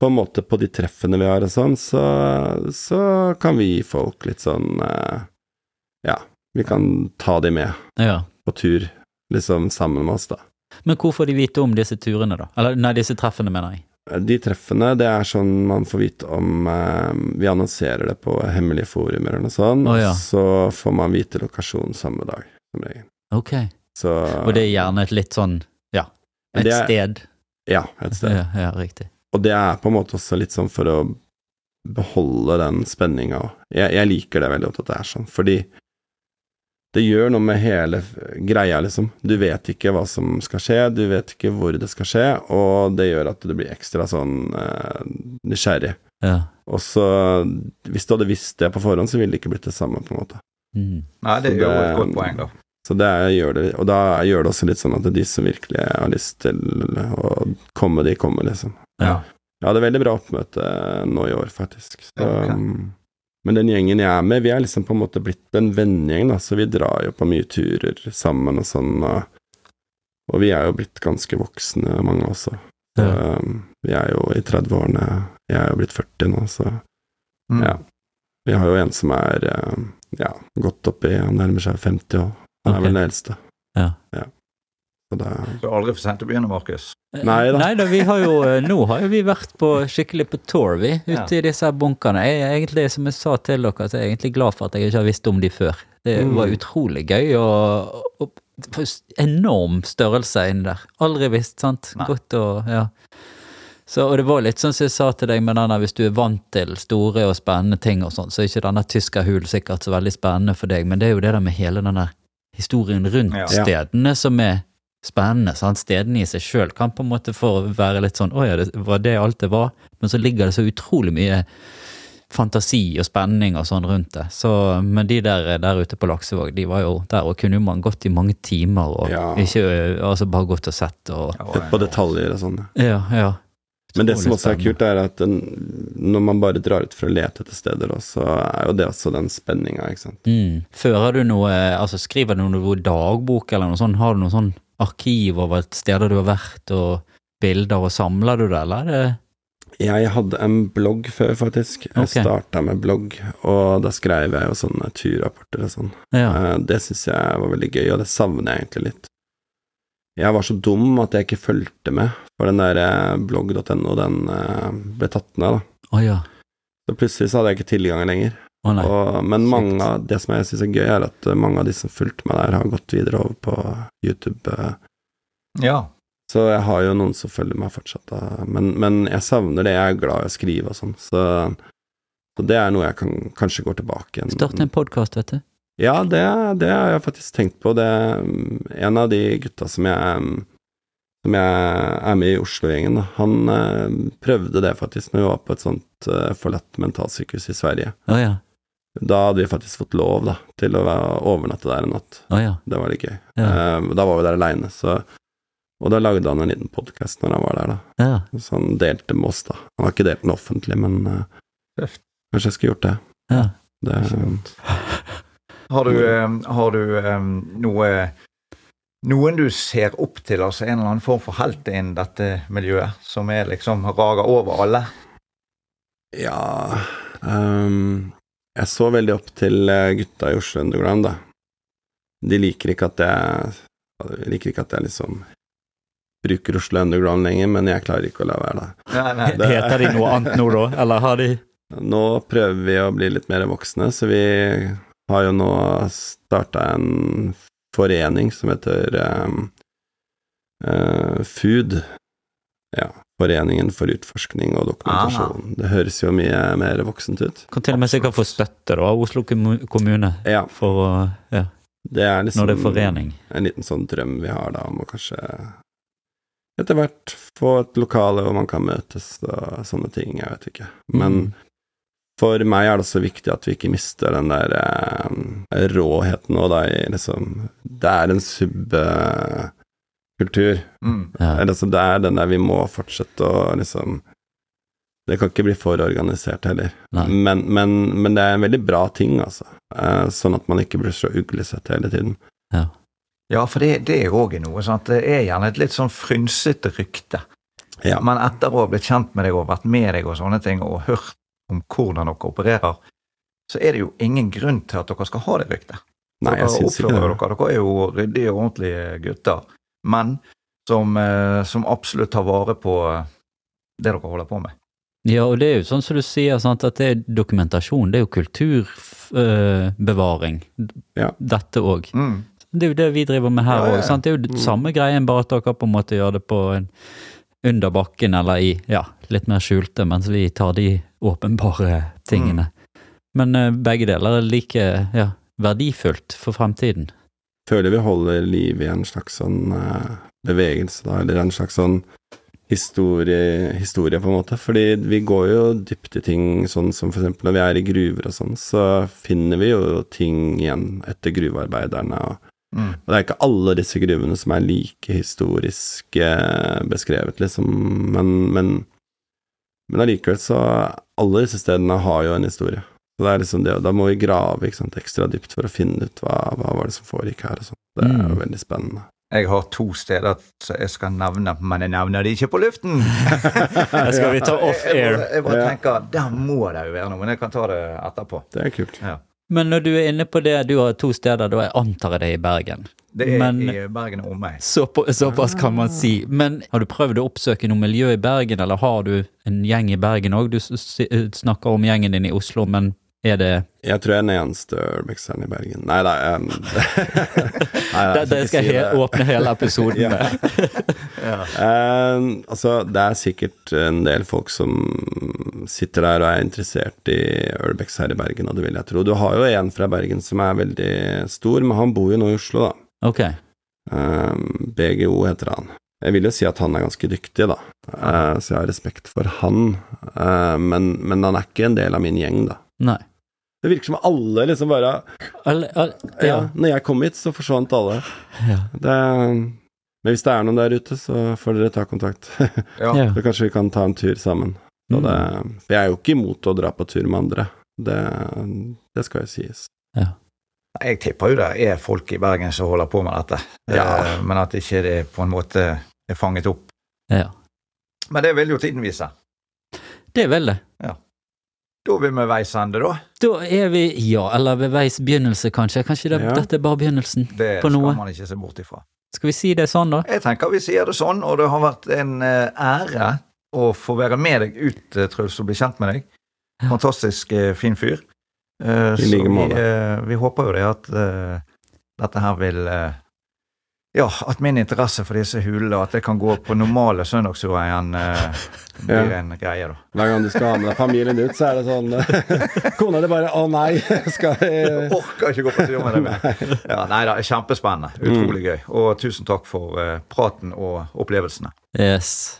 på en måte på de treffene vi har og sånn, så, så kan vi gi folk litt sånn eh, Ja, vi kan ta de med Ja. på tur, liksom sammen med oss, da. Men hvor får de vite om disse turene, da? Eller nei, disse treffene, mener jeg. De treffene, det er sånn man får vite om eh, Vi annonserer det på hemmelige forumer eller noe sånt, Å, ja. og så får man vite lokasjon samme dag, som regel. Ok. Så Og det er gjerne et litt sånn, ja, et Men det er- sted. Ja, et sted. Ja, ja, riktig. Og det er på en måte også litt sånn for å beholde den spenninga òg. Jeg, jeg liker det veldig godt at det er sånn, fordi det gjør noe med hele f- greia, liksom. Du vet ikke hva som skal skje, du vet ikke hvor det skal skje, og det gjør at du blir ekstra sånn eh, nysgjerrig. Ja. Og så, hvis du hadde visst det på forhånd, så ville det ikke blitt det samme, på en måte. Mm. Nei, det Så er jo det- et godt poeng, da. Så det er, gjør det, og da gjør det også litt sånn at de som virkelig har lyst til å komme, de kommer, liksom. Ja. Jeg hadde veldig bra oppmøte eh, nå i år, faktisk. Så, Ja, ok. um, Men den gjengen jeg er med, vi er liksom på en måte blitt en vennegjeng, da, så vi drar jo på mye turer sammen og sånn, og, og vi er jo blitt ganske voksne, mange også. Så, Ja. um, vi er jo i 30-årene, jeg er jo blitt 40 nå, så Mm. Ja. vi har jo en som er um, ja, godt oppi, han nærmer seg 50 år. Han Ok. er vel den eldste. Ja. Så det, Det er aldri for sent å begynne, Markus. Nei da. Nei da, vi har jo, eh, nå har jo vi vært på, skikkelig på tour, vi, ute i disse her bunkerne. Jeg er egentlig, som jeg sa til dere, så er jeg egentlig glad for at jeg ikke har visst om de før. Det Mm. var utrolig gøy, og, og det var s- enorm størrelse inni der. Aldri visst, sant? Nei. Godt og, ja. Så, og det var litt sånn som jeg sa til deg med den der, hvis du er vant til store og spennende ting og sånn, så er ikke denne tyskerhulen sikkert så veldig spennende for deg, men det er jo det der med hele den der historien rundt Ja. stedene som er spennende. Sant? Stedene i seg sjøl kan på en måte få være litt sånn 'Å ja, det var det alt det var?' Men så ligger det så utrolig mye fantasi og spenning og sånn rundt det. Så, men de der, der ute på Laksevåg, de var jo der, og kunne jo man gått i mange timer og Ja. ikke ø, altså bare gått og sett og Ja, Sett på detaljer og sånn. Ja, ja. Men det som Utrolig også er spennende. kult, er at den, når man bare drar ut for å lete etter steder, da, så er jo det også den spenninga, ikke sant. Mm. Fører du noe, altså skriver du noe dagbok eller noe sånt? Har du noe sånn arkiv over steder du har vært og bilder, og samler du det, eller er det Jeg hadde en blogg før, faktisk. Jeg Ok. starta med blogg, og da skrev jeg jo sånne turrapporter og sånn. Ja. Eh, Det syns jeg var veldig gøy, og det savner jeg egentlig litt. Jeg var så dum at jeg ikke fulgte med, for den der eh, blogg.no, den eh, ble tatt ned, da. Å ja. Så plutselig så hadde jeg ikke tilgang lenger. Å nei. Og, men Shit. mange av, det som jeg syns er gøy, er at eh, mange av de som fulgte meg der, har gått videre over på YouTube. eh, Ja. Så jeg har jo noen som følger meg fortsatt, da. Men, men jeg savner det. Jeg er glad i å skrive og sånn, så, så det er noe jeg kan, kanskje går tilbake igjen. Start en podkast, vet du. Ja, det, det har jeg faktisk tenkt på. Det mm, En av de gutta som jeg mm, som jeg er med i Oslo-gjengen, da, han eh, prøvde det faktisk når vi var på et sånt eh, forlatt mentalsykehus i Sverige. Å ja. Da hadde vi faktisk fått lov da, til å være- overnatte der en natt. Å ja. Det var litt gøy. Ja. Eh, da var vi der aleine, så Og da lagde han en liten podkast når han var der, da. ja. Så han delte Sånn med oss, da. Han har ikke delt den offentlig, men eh, Tøft. kanskje jeg skulle gjort det. Ja. det Har du, Mm. eh, har du eh, noe noen du ser opp til, altså en eller annen form for helt innen dette miljøet, som er liksom rager over alle? ja ehm, Jeg så veldig opp til eh, gutta i Oslo Underground, da. De liker ikke at jeg de liker ikke at jeg liksom bruker Oslo Underground lenger, men jeg klarer ikke å la være, da. Nei, nei. Det- Heter de noe annet nå, da? Eller har de Nå prøver vi å bli litt mer voksne, så vi har jo nå starta en forening som heter ehm, eh, Food. Ja, Foreningen for utforskning og dokumentasjon. Det høres jo mye mer voksent ut. Kan til og med sikkert få støtte da, av Oslo kommu- kommune Ja, for å ja, det er liksom Når det er forening. en liten sånn drøm vi har da, om å kanskje etter hvert få et lokale hvor man kan møtes og sånne ting, jeg vet ikke. Men Mm. for meg er det også viktig at vi ikke mister den der eh, råheten og da i liksom Det er en subkultur. Mm. Ja. Eller altså, det er den der vi må fortsette å liksom Det kan ikke bli for organisert heller. Nei. Men, men, men det er en veldig bra ting, altså. Eh, Sånn at man ikke blir så uglesett hele tiden. Ja, for det, det er òg noe. Sant? Det er gjerne et litt sånn frynsete rykte. Ja. Men etter å ha blitt kjent med deg og vært med deg og sånne ting, og hørt om hvordan dere opererer, så er det jo ingen grunn til at dere skal ha det ryktet. Nei, jeg dere syns ikke det. oppfører dere. Dere er jo ryddige og ordentlige gutter. Men som, eh, som absolutt tar vare på eh, det dere holder på med. Ja, og det er jo sånn som du sier, sant, at det er dokumentasjon, det er jo kulturbevaring, Ja. dette òg. Mm. Det er jo det vi driver med her Ja, ja, òg. ja. Det er jo Mm. det samme greien, bare at dere på en måte gjør det på en under bakken eller i ja, litt mer skjulte, mens vi tar de åpenbare tingene. Mm. Men eh, begge deler er like ja, verdifullt for fremtiden. føler vi holder liv i en slags sånn eh, bevegelse, da, eller en slags sånn historie, historie, på en måte. Fordi vi går jo dypt i ting, sånn som for eksempel når vi er i gruver og sånn, så finner vi jo ting igjen etter gruvearbeiderne. Og, Mm. og det er ikke alle disse gruvene som er like historisk eh, beskrevet, liksom, men, men men allikevel så Alle disse stedene har jo en historie. Så det er liksom det, og Da må vi grave ikke sant, ekstra dypt for å finne ut hva, hva var det som foregikk her. og sånt. Det er jo Mm. veldig spennende. Jeg har to steder som jeg skal nevne, men jeg nevner de ikke på luften. Det skal vi ta off Jeg, jeg, air. bare, jeg bare Ja. tenker, der må det jo være noe, men jeg kan ta det etterpå. Det er kult. Men når du er inne på det, du har to steder, da jeg antar jeg det er i Bergen. Det er Men- i Ah. Bergen og omegn. Så på, såpass kan man si. Men har du prøvd å oppsøke noe miljø i Bergen, eller har du en gjeng i Bergen òg? Du s- s- snakker om gjengen din i Oslo, men er det Jeg tror jeg er den eneste urbexeren i Bergen. Nei da um, Det, det skal jeg he åpne hele episoden Ja. med. Eh, altså, det er sikkert en del folk som sitter der og er interessert i Urbex her i Bergen, og det vil jeg tro. Du har jo en fra Bergen som er veldig stor, men han bor jo nå i Oslo, da. Ok. Eh, BGO heter han. Jeg vil jo si at han er ganske dyktig, da, Eh, så jeg har respekt for han. Eh, men, men han er ikke en del av min gjeng, da. Nei. Det virker som alle liksom bare Al, al, Ja, ja. når jeg kom hit, så forsvant alle. Ja. Det, Men hvis det er noen der ute, så får dere ta kontakt. Ja. Ja. Så kanskje vi kan ta en tur sammen. Så Mm. det, for jeg er jo ikke imot å dra på tur med andre. Det, det skal jo sies. Jeg tipper jo det er folk i Bergen som holder på med dette, Ja. Eh, men at ikke det på en måte er fanget opp. Ja. Men det vil jo tiden vise. Det er vel det. Da vil vi veis ende, da. Da er vi, ja, eller ved veis begynnelse, kanskje. Kanskje det, Ja. dette er bare begynnelsen. Det På noe. skal man ikke se bort ifra. Skal vi si det sånn, da? Jeg tenker vi sier det sånn, og det har vært en eh, ære å få være med deg ut, eh, Truls, og bli kjent med deg. Ja. Fantastisk eh, fin fyr. Eh, I like så måte. Vi, eh, vi håper jo det at eh, dette her vil eh, Ja, at min interesse for disse hulene, og at det kan gå på normale søndagsturer igjen, eh, blir Ja. en greie, da. Hver gang du skal ha med deg familien ut, så er det sånn Kona di bare 'Å nei, skal Jeg jeg orker ikke gå på tur med deg mer. Ja, nei da, kjempespennende. Utrolig Mm. gøy. Og tusen takk for eh, praten og opplevelsene. Yes.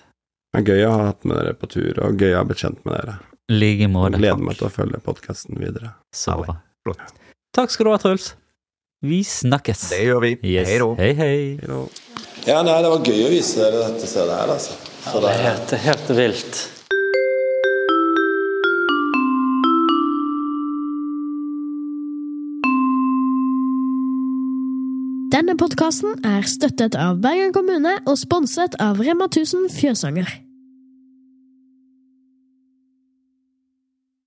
Det er gøy å ha hatt med dere på tur, og gøy å ha blitt kjent med dere. I like Jeg måte. gleder meg til å følge podkasten videre. Så bra. Flott. Takk skal du ha, Truls. Vi snakkes. Det gjør vi. Yes. Hei da. Hei, hei. Ja, nei, det var gøy å vise dere dette stedet her, altså. Så det, helt, helt vilt. Denne podkasten er støttet av Bergen kommune og sponset av Rema 1000 Fjøsanger.